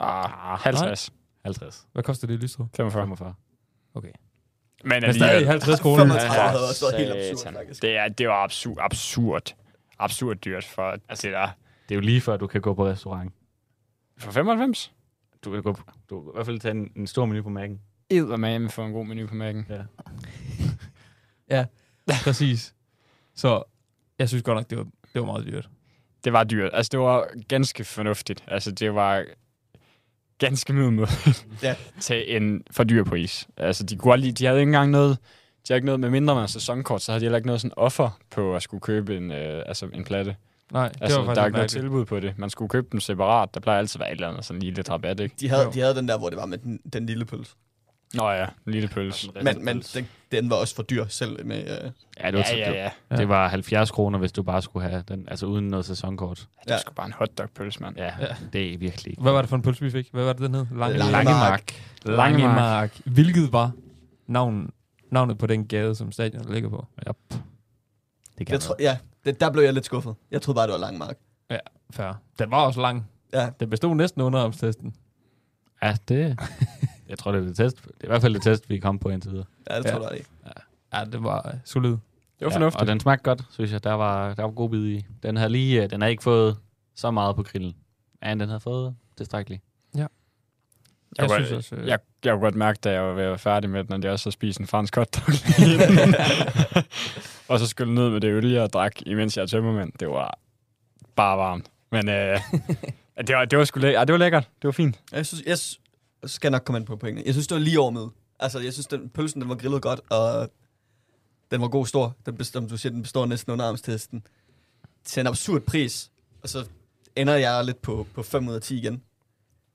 Ah, 50. 50. Hvad koster det i Lystrup? 45. 45. Men Men stadig alligevel. 50 kroner. 35 havde også været helt absurd, Satan. faktisk. Det, er, det var absurd, absurd, absurd dyrt for, altså, det der, Det er jo lige før, du kan gå på restaurant. for 95. Du kan, gå på, du kan i hvert fald tage en, en stor menu på mærken. Eddermame for en god menu på mærken. Præcis. Så jeg synes godt nok, det var, det var meget dyrt. Det var dyrt. Altså, det var ganske fornuftigt. Altså, det var ganske middelmådigt Ja. til en for dyr pris. Altså, de, kunne lige, de havde ikke engang noget, de havde ikke noget med mindre man har sæsonkort, så havde de heller ikke noget sådan offer på at skulle købe en, øh, altså en platte. Nej, det Altså, var faktisk der lidt er ikke noget mærkeligt. tilbud på det. Man skulle købe dem separat. Der plejer altid at være et eller andet sådan lige lidt rabat, ikke? De havde, Jo. de havde den der, hvor det var med den, den lille pølse. Nå ja, en lille pølse. Men, men den, den var også for dyr selv med... Øh, Ja, det var, ja, ja, ja. Ja. Det var 70 kroner, hvis du bare skulle have den, altså uden noget sæsonkort. Det var sgu bare en hotdog-pølse, mand. Ja, Ja. ja. det er virkelig ikke. Hvad var det for en pølse, vi fik? Hvad var det, den hed? Lange, Langemark. Langemark. Langemark. Hvilket var navn, navnet på den gade, som stadion ligger på. Det kan jeg tror, ja, det, der blev jeg lidt skuffet. Jeg troede bare, det var Langmark. Færre. Den var også lang. Ja, Den bestod næsten under omstesten. Ja, det... jeg tror, det er det test. Det er i hvert fald det test, vi kom på indtil videre. ja det Ja. tror jeg ikke. Ja, det var øh, solid. Det Ja, var og fornuftigt. den smagte godt, synes jeg. Der var, der var god bid i. Den har lige... øh, Den har ikke fået så meget på grillen. Ja, den har fået tilstrækkeligt. Jeg, var- synes også... øh, Jeg, jeg kunne godt mærke, da jeg var ved at være færdig med den, at jeg også havde spist en fransk hotdog. og så skulle ned med det øl, jeg drak, imens jeg er tømmermænd. Det var bare varmt. Men øh, det, var, det, var sgu læ- ja, det var lækkert. Det var fint. Jeg synes, jeg s- skal nok komme ind på pointene. Jeg synes, det var lige over med. Altså, jeg synes, den, pølsen den var grillet godt, og Den var god stor. Den består, som du siger, den består næsten under armstesten. Til en absurd pris. Og så ender jeg lidt på, på 5 ud af 10 igen.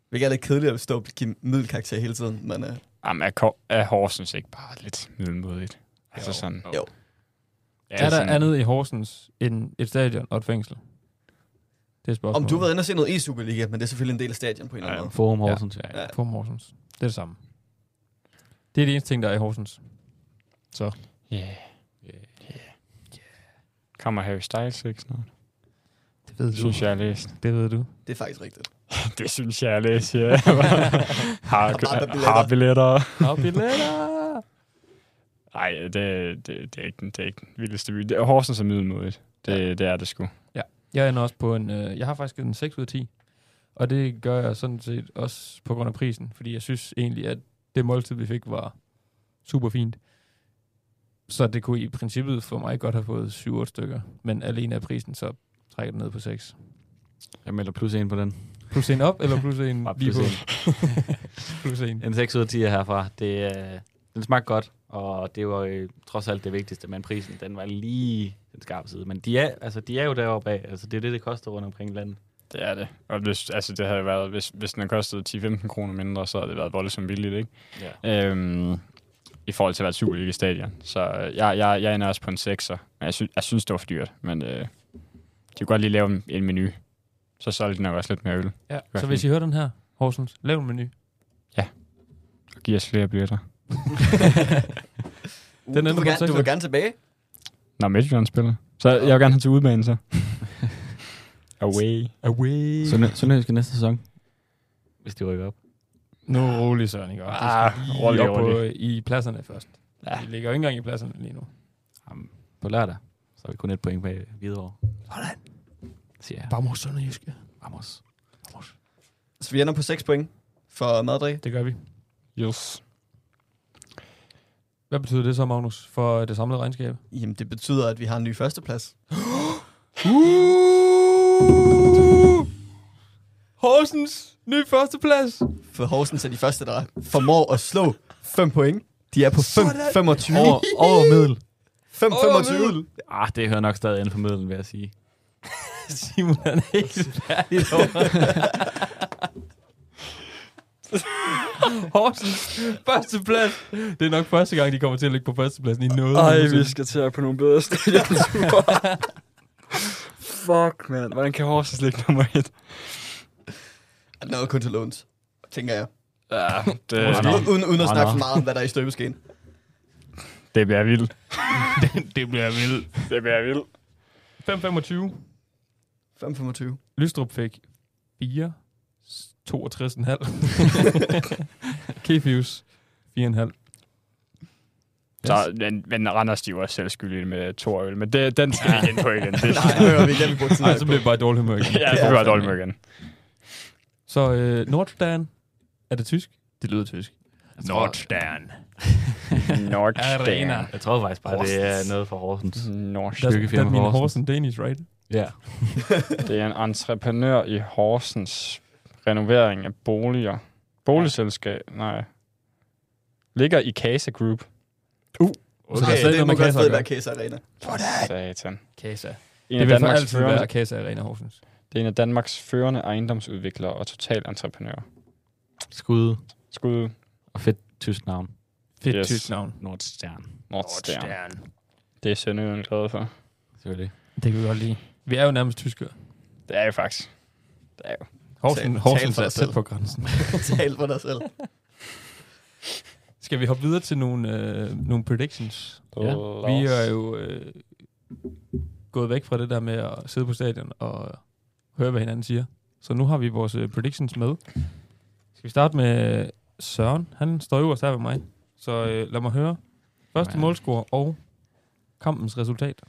Hvilket er lidt kedeligt at stå og give middelkarakter hele tiden, men øh, Jamen, er, Ko- er Horsens ikke bare lidt middelmodigt? Altså sådan... Jo. Ja, Er der sådan- andet i Horsens end et stadion og et fængsel? Det er spørgsmålet. om du har været inde og se noget i Superliga, men det er selvfølgelig en del af stadion på en eller anden måde. Forum Horsens, ja. ja. Ja. På Horsens. Det er det samme. Det er det eneste ting, der er i Horsens. Yeah. Kommer Harry Styles ikke snart? Det ved Det synes jeg, jeg har læst. Det ved du. Det er faktisk rigtigt. det synes jeg, jeg har læst, ja. bare har, billetter. har billetter. Og billetter! Nej, det, det, det, er ikke, den- det er ikke den vildeste by. Det er Horsens er middelmodigt. Det, det er det sgu. Jeg ender også på en... Øh, jeg har faktisk givet en 6 ud af 10. Og det gør jeg sådan set også på grund af prisen. Fordi jeg synes egentlig, at det måltid, vi fik, var super fint. Så det kunne i princippet for mig godt have fået 7-8 stykker. Men alene af prisen, så trækker det ned på 6. Jeg melder plus en på den. Plus en op, eller plus en Bare lige plus på? en. plus en. En 6 ud af 10 er herfra. Det, øh, den smagte godt, og det var øh, trods alt det vigtigste, men prisen, den var lige den skarpe side. Men de er, altså, de er jo deroppe af. Altså, det er det, det koster rundt omkring i landet. Det er det. Og hvis, altså, det havde været, hvis, hvis den havde kostet 10-15 kroner mindre, så havde det været voldsomt billigt, ikke? Ja. Øhm, I forhold til at være et Superliga-stadion. Så øh, jeg, jeg, jeg ender også på en 6'er. Men jeg, sy, jeg synes, det var for dyrt. Men øh, de kunne godt lige lave en, en menu. Så solgte de nok også lidt mere øl. Ja. Hvad Så hvis I hører den her, Horsens, lav en menu. Og giv os flere billetter. Den Den ender du, på vil gerne, du sekser. vil gerne tilbage. Når Midtjylland spiller. Så jeg vil gerne have til udbanen, så. Away. Away. Sønderjysk næste sæson. Hvis de rykker op. Nu rolig, Søren, ikke? også? Ah, Vi skal lige rolig, op på, rolig. I pladserne først. Ja. Ja. Vi ligger jo ikke engang i pladserne lige nu. Jamen, på lørdag, så er vi kun et point bag Hvidovre. Sådan. Siger jeg. Vamos, Sønderjyske. Vamos. Vamos. Så vi ender på 6 point for Madrid. Det gør vi. Yes. Hvad betyder det så, Magnus, for det samlede regnskab? Jamen, det betyder, at vi har en ny førsteplads. Uh! Horsens, ny førsteplads. For Horsens er de første, der formår at slå 5 point. De er på 5, 25. Over, over middel. 5, Over 25. Ah, det hører nok stadig inden for middelen, vil jeg sige. Simon han er ikke færdig Horsens førsteplads. Det er nok første gang, de kommer til at ligge på førstepladsen i noget. nogensinde. skal til at på nogle bedre stadionture. Fuck, man. Hvordan kan Horsens ligge nummer et? Er noget kun til låns, tænker jeg. Ja, Måske. det, nå. Uden, uden at Nå, snakke nå. for meget om, hvad der er i støbeskeen. det bliver vildt. det bliver vildt. Det bliver vildt. 525. 5,25. Lystrup fik 4, 62,5. Kefius 4,5. Så, men, men Randers, de var også selv skyldige med to øl, men det, den skal vi ikke ind på igen. Det, Nej, det hører vi ikke, at vi bruger tid Nej, så blev det bare dårlig humør igen. ja, det var dårligt med igen. Så øh, Nordstern, er det tysk? Det lyder tysk. Nordstern. Arena. Nordstern. Jeg tror faktisk bare, det er Horsens. noget for Horsens. Mhm. Nordstern. That's, Lykkefirma that mean Horsens. Horsen Danish, right? Ja. Det er en entreprenør i Horsens renovering af boliger. Boligselskab, nej. Ligger i Casa Group. Uh, Så der er Okay, slet det ikke må noget med godt Kasa at stadig være gøre. Case Arena. Satan. Kasa. Det En af, vil for Danmarks altid være førende, Kasa Arena Horsens. det er en af Danmarks førende ejendomsudviklere og totalentreprenører. Skud Skud og fedt tysk navn. Fedt yes. Yes. tysk navn. Nordstern. Nordstern. Det er Sønderjylland glad for. Selvfølgelig. Det kan vi godt lide. Vi er jo nærmest tyskere. Det er jo faktisk. Horsens, Tal- tal Horsens for er dig tæt selv. på grænsen. Tal for dig selv. Skal vi hoppe videre til nogle, øh, nogle predictions? Ja. Vi er jo øh, gået væk fra det der med at sidde på stadion og høre, hvad hinanden siger. Så nu har vi vores øh, predictions med. Skal vi starte med øh, Søren? Han står øverst her ved mig. Så øh, lad mig høre. Første Ja. målscore og kampens resultat.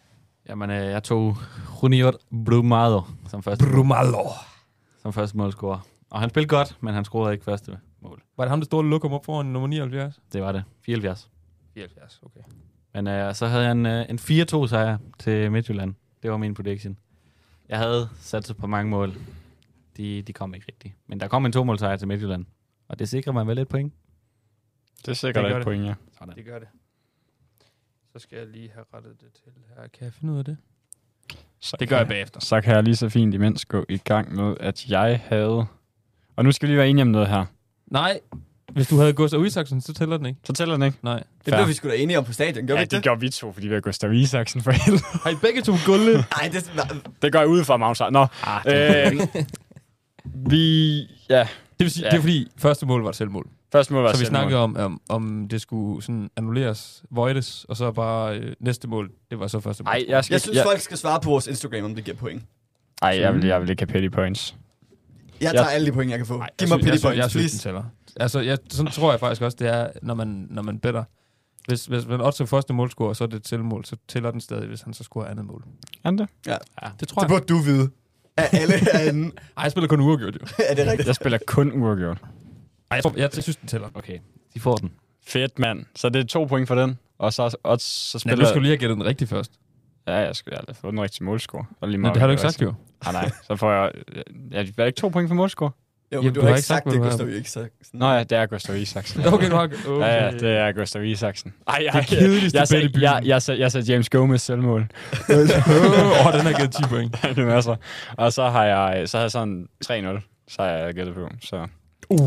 Jamen, øh, jeg tog Junior Brumado som første, Brumalo. som første målscorer. Og han spillede godt, men han scorede ikke første mål. Var det ham, der stod og lukkede op foran nummer 79? Det var det. 74. 74, okay. Men øh, så havde jeg en, øh, en 4-2 sejr til Midtjylland. Det var min prediction. Jeg havde sat sig på mange mål. De, de kom ikke rigtigt. Men der kom en to sejr til Midtjylland. Og det sikrer mig vel et point. Det er sikkert Det gør et det. point, ja. Sådan. Det gør det. Så skal jeg lige have rettet det til her. Kan jeg finde ud af det? Så Det gør jeg bagefter. Så kan jeg lige så fint imens gå i gang med, at jeg havde... Og nu skal vi lige være enige om noget her. Nej, hvis du havde Gustav Isaksen, så tæller den ikke. Så tæller den ikke? Nej. Det Fair. blev vi sgu da enige om på stadion, gjorde ja, vi det, ikke det? gjorde vi to, fordi vi har Gustav Isaksen for helvede. Har I begge to gulde? Nej, det, Det går jeg ud fra, Magnus. Nå, Ah, øh, vi... Ja, Det, vil sige, Ja. ja. det er fordi, første mål var et selvmål. første mål var Så vi selvmål. snakkede om, om, om det skulle sådan annulleres, voides, og så bare øh, næste mål, det var så første mål. Ej, jeg, skal, jeg synes, folk skal svare på vores Instagram, om det giver point. Ej, jeg vil, jeg vil ikke have petty points. Jeg tager alle de point, jeg kan få. Giv jeg synes- mig pity jeg synes- points, Jeg synes, please. den tæller. Altså, jeg, sådan tror jeg faktisk også, det er, når man, når man better. Hvis, hvis man også første mål scorer, så er det et selvmål, så tæller den stadig, hvis han så scorer andet mål. Er det? Det tror jeg. Det burde du vide. Af alle herinde. Ej, jeg spiller kun uafgjort, jo. er det rigtigt? Jeg spiller kun uafgjort. Ej, jeg, tror, jeg, jeg synes, den tæller. Okay, de får den. Fedt, mand. Så det er to point for den. Og så, og Nej, så spiller... du skulle lige have gættet den rigtigt først. Ja, jeg skulle aldrig få den rigtige målscore. Og lige Men meget, det har du hvad ikke sagt, jeg jo. siger. Nej, nej. Så får jeg... Ja, var det ikke to point for målscore? Jo, Jamen, men du, har ikke sagt, hvad det, du har. Gustav ikke sagt. Nå ja, det er Gustav Isaksen. Okay, du har... Okay. Ja, ja, det er Gustav Isaksen. Ej, ej, Det kedeligste jeg, bet i sagde, byen. jeg, jeg, sagde, jeg sagde James Gomez selvmål. Åh, oh, den har givet 10 point. det er masser. Og så har jeg, så har jeg sådan 3-0, så har jeg gættet på. Så Uh,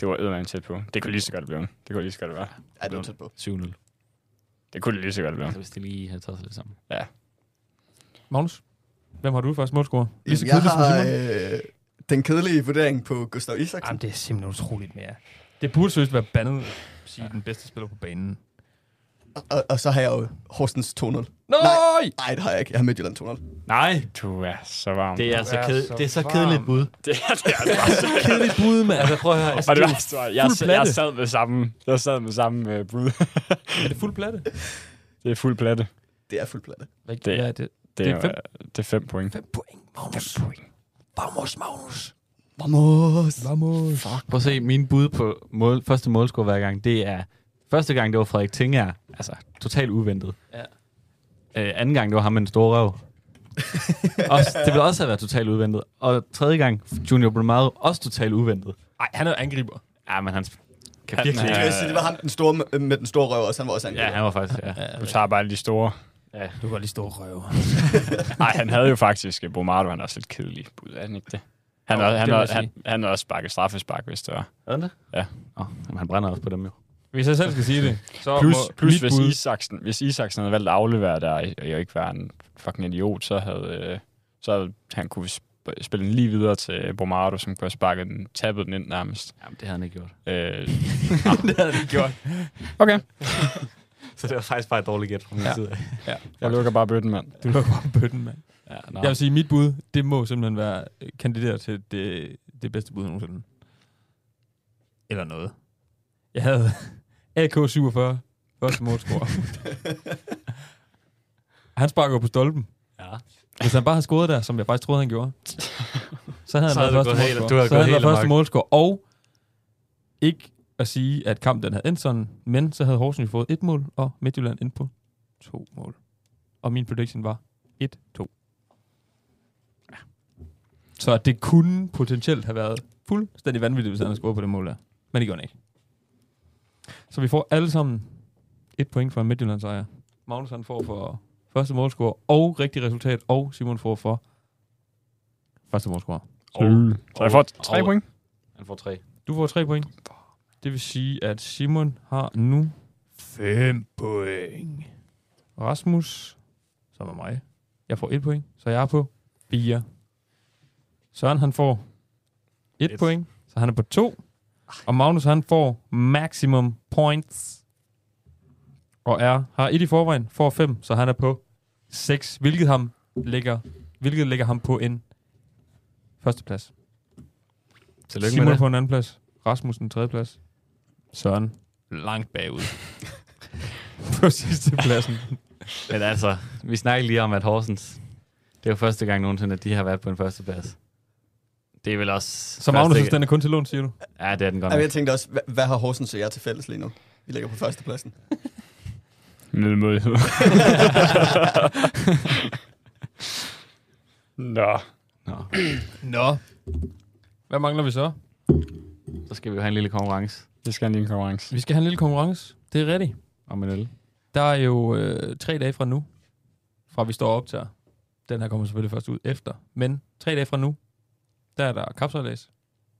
det var eddermame tæt på. Det kunne lige så godt blive. Det kunne lige så godt være. Ja, det var tæt på. 7-0. Det kunne lige så godt blive. Så hvis de lige havde taget sig lidt sammen. Magnus, hvem har du først målscorer? Lige så Jeg kedeligt som har Simon? øh, den kedelige vurdering på Gustav Isaksen. Jamen, det er simpelthen utroligt mere. Det burde seriøst være bandet at sige den bedste spiller på banen. Og, og så har jeg jo Horsens 2-0. Nej! Nej, det har jeg ikke. Jeg har Midtjylland 2-0. Nej! Du er så varm. Det er, så, er ked- så det er så varm. kedeligt bud. det er, det er, det er så Kedeligt bud, mand. Altså, prøv at høre. Og det værste var, jeg, fuld sad- jeg platte. sad med samme, jeg sad med samme øh, brud. Er det fuld platte? det er fuld platte. Det er fuld platte. Hvad Det- hvad er det? Det, Det det, er er, fem. øh, det er fem point. 5 point, Magnus. 5 point. Vamos, Magnus. Vamos! Vamos. Fuck, prøv at se, min bud på mål, første målscore hver gang, det er... Første gang, det var Frederik Tinger. Altså, totalt uventet. Ja. Øh, anden gang, det var ham med den store røv. også, det ville også have været totalt uventet. Og tredje gang, Junior Brumado, også totalt uventet. Ej, han er jo angriber. Ja, men han kan Han virkelig er- Det, vil sige, det var ham den store, med- med den store røv, og han var også Ja, angriber. han var faktisk... Ja. Du tager bare de store. Du kan lige stå og røve. Nej, han havde jo faktisk, øh, Bomaro, han er også lidt kedelig bud, er han ikke det? Han, Jo, er, han, det vil er, jeg han, han er også sparket straffespark, hvis det var. Er det? Ja. Oh, jamen, han brænder også på dem jo. Hvis jeg selv skal sige det, så Plus, må plus mit hvis, bud... Isaksen, hvis Isaksen havde valgt at aflevere der, og jeg ikke var en fucking idiot, så havde, øh, så havde han kunne sp- spille den lige videre til Bomaro, som kunne have sparket den, tappet den ind nærmest. Jamen, det havde han ikke gjort. Øh, det havde det gjort. okay, Så det var faktisk bare et dårligt gæt fra min Ja. side. af. jeg lukker bare bøtten, mand. Du lukker bare bøtten, mand. Ja, nå. Jeg vil sige, mit bud, det må simpelthen være øh, kandidat til det, det bedste bud nogensinde. Eller noget. Jeg havde AK47, første målscorer. han sparker jo på stolpen. Ja. Hvis han bare havde scoret der, som jeg faktisk troede, han gjorde, så havde han været Så havde du første gået helt- målscorer. du havde Så havde han gået været helt første amok. målscorer. Og ikke at sige, at kampen den havde endt sådan, men så havde Horsens jo fået et mål, og Midtjylland endt på to mål. Og min prediction var 1-2. Så det kunne potentielt have været fuldstændig vanvittigt, hvis han havde scoret på det mål der. Men det gjorde han ikke. Så vi får alle sammen et point for en Midtjylland sejr. Magnus han får for første målscore og rigtig resultat, og Simon får for første målscore. Så, så jeg får tre Og- point. Han får tre. Du får tre point. Det vil sige, at Simon har nu 5 point. Rasmus, som er mig, jeg får 1 point, så jeg er på 4. Søren, han får 1 Et. point, så han er på 2. Og Magnus, han får maximum points. Og er, har et i forvejen, får 5, så han er på 6, hvilket, ham lægger, hvilket lægger ham på en førsteplads. Tillykke Simon med det. på en anden plads. Rasmus en tredje plads. Søren langt bagud. på sidste pladsen. Men altså, vi snakkede lige om, at Horsens, det er jo første gang nogensinde, at de har været på en førsteplads. Det er vel også... Så Magnus, første- den er kun til lån, siger du? Ja, det er den godt Jamen, nok. jeg tænkte også, hvad, hvad har Horsens og jeg til fælles lige nu? Vi ligger på førstepladsen. Middelmodighed. Nå. Nå, Nå. Hvad mangler vi så? så skal vi jo have en lille konkurrence Det skal lige en konkurrence. Vi skal have en lille konkurrence. Det er rigtigt. om en øl. Der er jo øh, tre dage fra nu, fra vi står op til Den her kommer selvfølgelig først ud efter. Men tre dage fra nu, der er der kapsejlads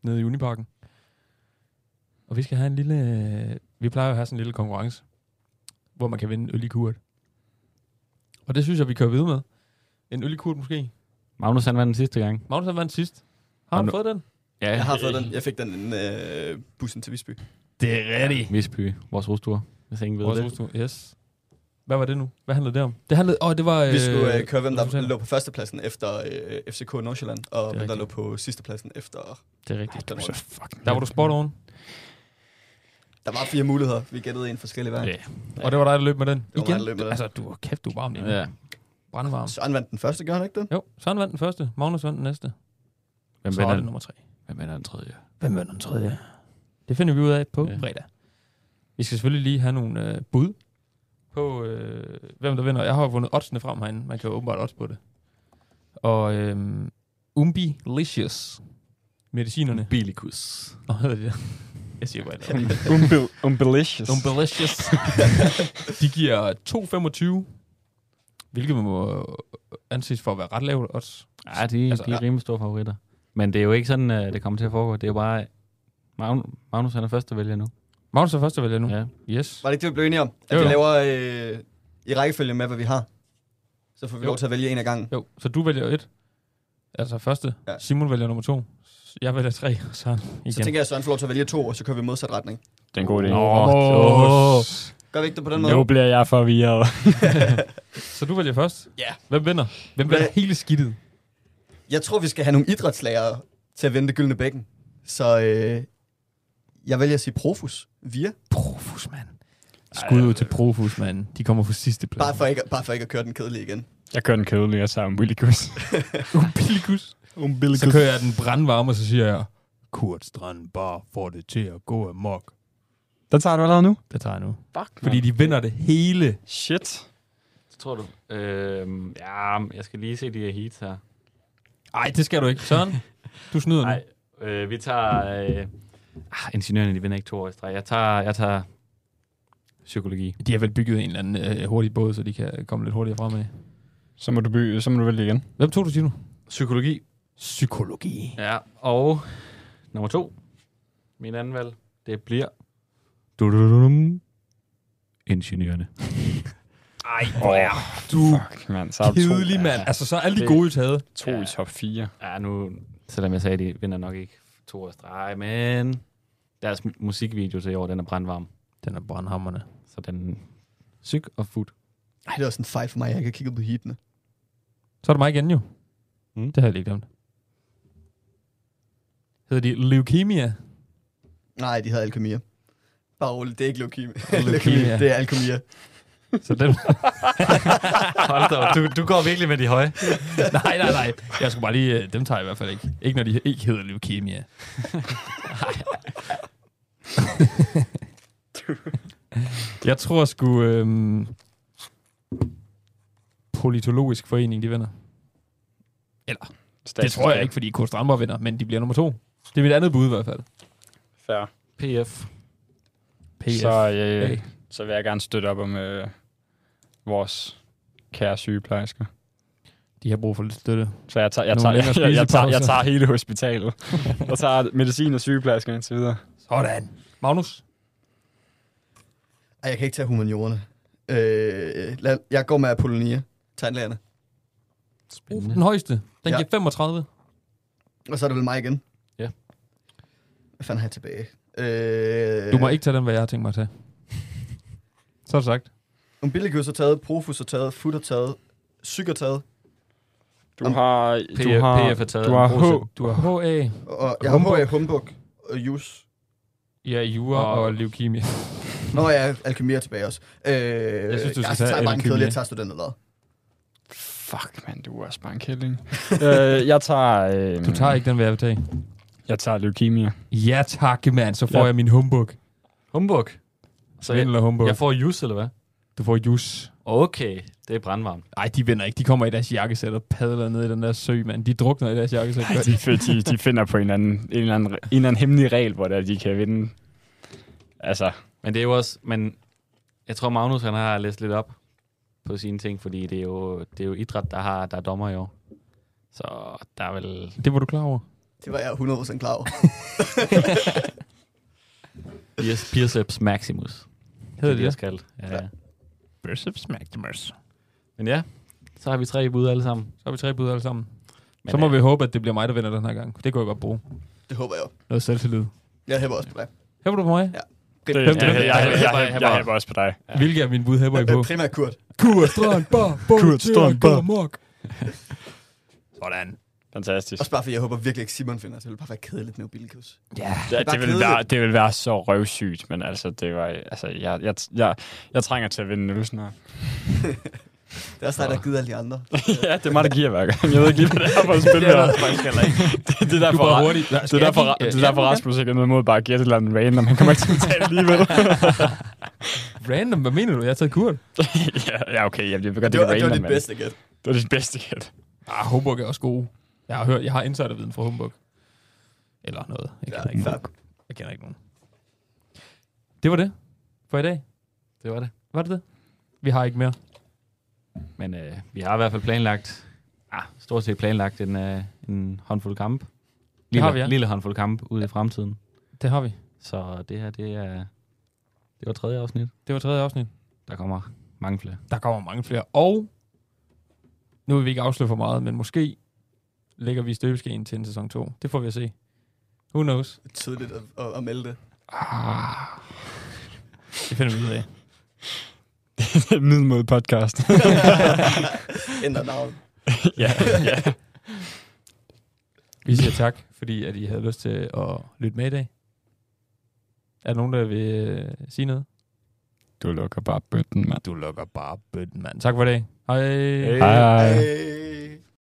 nede i Uniparken. Og vi skal have en lille... Øh, vi plejer jo at have sådan en lille konkurrence, hvor man kan vinde en øl i kurt. Og det synes jeg, vi kører videre med. En øl i kurt måske. Magnus han vandt den sidste gang. Magnus han vandt sidst. Har han Og nu- fået den? Ja, Jeg har fået den. Jeg fik den inden øh, bussen til Visby. Det er rigtigt. Visby, vores rustur, hvis ingen ved Vores det. hustru, yes. Hvad var det nu? Hvad handlede det om? Det handlede... Åh, oh, det var... Vi skulle øh, køre, hvem der resultater. lå på førstepladsen efter øh, FCK Nordsjælland, og hvem der rigtigt. lå på sidstepladsen efter... Det er rigtigt. Den Du er så runde. fucking... Der var du spot on. Der var fire muligheder. Vi gættede en forskellig vej. Ja. Og det var dig, der løb med den. var mig, Igen? der løb med den. Altså, du var kæft, du var varm lige nu. Ja. Brandvarm. Søren vandt den første, gør han ikke det? Jo, Søren vandt den første. Magnus vandt den næste. Hvem Så var vinder, det den- nummer tre. hvem vinder den tredje? Hvem vandt den tredje? Det finder vi ud af på Ja. ja. fredag. Vi skal selvfølgelig lige have nogle øh, bud på, øh, hvem der vinder. Jeg har jo fundet oddsene frem herinde. Man kan jo åbenbart odds på det. Og øh, Umbi Licious. Medicinerne. Bilikus. Nå, hedder de det? Jeg siger bare et eller andet. Umbil- umbilicious. Umbelicious. de giver 2,25, hvilket må øh, anses for at være ret lavt odds. Ja, de, Altså, altså, de er rimelig store favoritter. Men det er jo ikke sådan, øh, det kommer til at foregå. Det er jo bare, Magn- Magnus han er første vælger nu. Magnus er første vælger nu. Ja. Ja. Yes. Var det ikke det, vi blev enige om? At Jo, vi jo. laver øh, i rækkefølge med, hvad vi har. Så får vi Jo. lov til at vælge en af gangen. Jo, så du vælger et. Altså første. Ja. Ja. Simon vælger nummer to. Jeg vælger tre, og så igen. Så tænker jeg, at Søren får lov til at vælge to, og så kører vi i modsat retning. Det er en god idé. Åh. Gør vi ikke det på den måde? Nu bliver jeg forvirret. Så du vælger først? Ja. Hvem vinder? Hvem vinder Hvad- hele skidtet? Jeg tror, vi skal have nogle idrætslærere til at vinde det gyldne bækken. Så øh, jeg vælger at sige Profus via. Profus, mand. Skud ud til Profus, mand. De kommer på sidste plads. Bare for ikke, bare for ikke at køre den kedelige igen. Jeg kører den kedelige sammen. Willikus. Umbilikus. Umbilikus. Så kører jeg den brandvarme, og så siger jeg, Kurt Strand bare får det til at gå amok. Den tager du allerede nu? Det tager jeg nu. Fuck, Fordi de vinder det hele. Shit. Så tror du? Øhm, ja, jeg skal lige se de her heats her. Nej, det skal du ikke. Søren, du snyder nu. Nej, øh, vi tager... Øh, ah, ingeniørerne, de vinder ikke to år i streg. Jeg tager, jeg tager psykologi. De har vel bygget en eller anden øh, hurtig båd, så de kan komme lidt hurtigere fremad. Så må du, by, så må du vælge igen. Hvem tog du, Tino? Psykologi? Psykologi. Ja, og nummer to, min anden valg, det bliver... Dudududum. Ingeniørerne. Ej, Åh, Uh. du Fuck, mand. Så er du to. kedelig, mand. Altså, så er alle de Det- gode taget. To i top 4. Ja, nu, selvom jeg sagde, at de vinder nok ikke to år i streg, men deres mu- musikvideo til i år, den er brandvarm. Den er brandhammerne. Så den syg og fuld. Ej, det var sådan en fejl for mig. Jeg ikke har kigget på heatene. Så er det mig igen, jo. Mm. Det har jeg lige glemt. Hedder de leukemia? Nej, de havde alkemia. Bare roligt, det er ikke leukemia. Leukemia. det er alkemia. Så den... Hold da op, du, du går virkelig med de høje. nej, nej, nej. Jeg skulle bare lige... øh, Dem tager jeg i hvert fald ikke. Ikke når de ikke hedder leukemia. jeg tror sgu... Øhm, politologisk forening, de vinder. Det tror jeg ikke, fordi Kurt Strandberg vinder, men de bliver nummer to. Det er mit andet bud i hvert fald. Fair. PF. PF. Så, Så, øh, hey. så vil jeg gerne støtte op om øh, vores kære sygeplejersker. De har brug for lidt støtte. Så jeg tager, jeg Nogle tager, jeg, længere jeg, jeg tager, jeg spisepauser. tager hele hospitalet. jeg tager medicin og sygeplejersker indtil videre. Sådan. Magnus? Ej, jeg kan ikke tage humaniorerne. Øh, lad, jeg går med Apollonia. Tandlægerne. Den højeste. Den Ja. giver 35. Og så er det vel mig igen. Ja. Hvad fanden har jeg tilbage? Øh, Du må ikke tage den, hvad jeg har tænkt mig at tage. Så er det sagt. Umbilikus har taget, Profus har taget, Fut har taget, Psyk har taget, Du Om- har, PF, du har, PF er taget. du har H. Brug- Du har HA, og jeg har Humbug. HA Humbug og Jus. ja, jura og, Og- og leukemia. Nå, jeg er alkemi er tilbage også. Øh, jeg synes, du skal tager tage bare en alkemi. kedelig, jeg tager studenterlad. Fuck, mand, du er også bare en kælling. øh, jeg tager... Øh, Du tager ikke den, hvad jeg vil tage. Jeg tager leukemia. Ja tak, mand. Så får Ja. jeg min humbug. Humbug. Så jeg, Svindel og humbug. jeg får jus, eller hvad? Du får jus. Okay, det er brandvarmt. Ej, de vinder ikke. De kommer i deres jakkesæt og padler ned i den der sø, mand. De drukner i deres jakkesæt. Ej, de, fi- de, de finder på en eller anden, en eller anden, en eller anden hemmelig regel, hvor der, de kan vinde. Altså, Men det er jo også, men Jeg tror, Magnus han har læst lidt op på sine ting, fordi det er jo, det er jo idræt, der, har, der er dommer i år. Så der er vel... Det var du klar over. Det var jeg 100% klar over. biceps- Biceps maximus. Hedder det jeg det? skal. Ja. ja. Biceps Maximus. Men ja, så har vi tre bud alle sammen. Så har vi tre bud alle sammen. Men, så må øh, vi håbe, at det bliver mig, der vinder den her gang. Det kunne jeg godt bruge. Det håber jeg jo. Noget selvtillid. Jeg hæber også på dig. Hæber du på mig? Ja. Det, Hvem- jeg, jeg, hvem- jeg, jeg, jeg, jeg hæber også på dig. Ja. Hvilke af mine bud hæber I Øh, på? Primært Kurt. Kur, strand, bar, bum, Kurt, strand, bar. mok. Sådan. Fantastisk. Også bare fordi jeg håber virkelig ikke Simon finder, så det ville bare være kedeligt med Bilkøs. Ja. Ja, bare det, vil kedeligt. være, det vil være så røvsygt, men altså, det var, altså jeg, jeg, jeg, jeg trænger til at vinde nu snart. Det er også dig, der gider alle de andre. ja, det er mig, der giver hver gang. Jeg ved ikke lige, hvad det er for et spil, Det er der faktisk heller ikke. det, det er Du derfor, er bare hurtig. Nå, Det skal er jeg derfor, give- det øh, er derfor Rasmus ikke er noget mod bare at give et eller andet random. Han kommer ikke til at betale alligevel. Random, hvad mener du? Jeg har taget Kurt. ja, ja, okay. Jamen, jeg ved godt, Det det, var, er det random, var dit men- bedste gæt. Det var dit bedste gæt. Ah, Humbug er også gode. Jeg har hørt, jeg har insiderviden fra Humbug. Eller noget. Jeg kender, Ja, ikke fair. nogen. jeg kender ikke nogen. Det var det for i dag. Det var det. Var det det? Vi har ikke mere. Men øh, vi har i hvert fald planlagt, ah, stort set planlagt en, øh, en håndfuld kamp. Lille, har vi, ja. lille håndfuld kamp ude i fremtiden. Det har vi. Så det her, det er det var tredje afsnit. Det var tredje afsnit. Der kommer mange flere. Der kommer mange flere. Og nu vil vi ikke afsløre for meget, men måske lægger vi i støbeskeen til en sæson 2. Det får vi at se. Who knows? Det er Tydeligt at, at, at melde det. Det finder vi ud af. Middelmod podcast. Ændrer navn. ja, ja. Vi siger tak, fordi at I havde lyst til at lytte med i dag. Er der nogen, der vil øh, sige noget? Du lukker bare bøtten, mand. Du lukker bare bøtten, mand. Tak for i dag. Hej. Hej. Hey.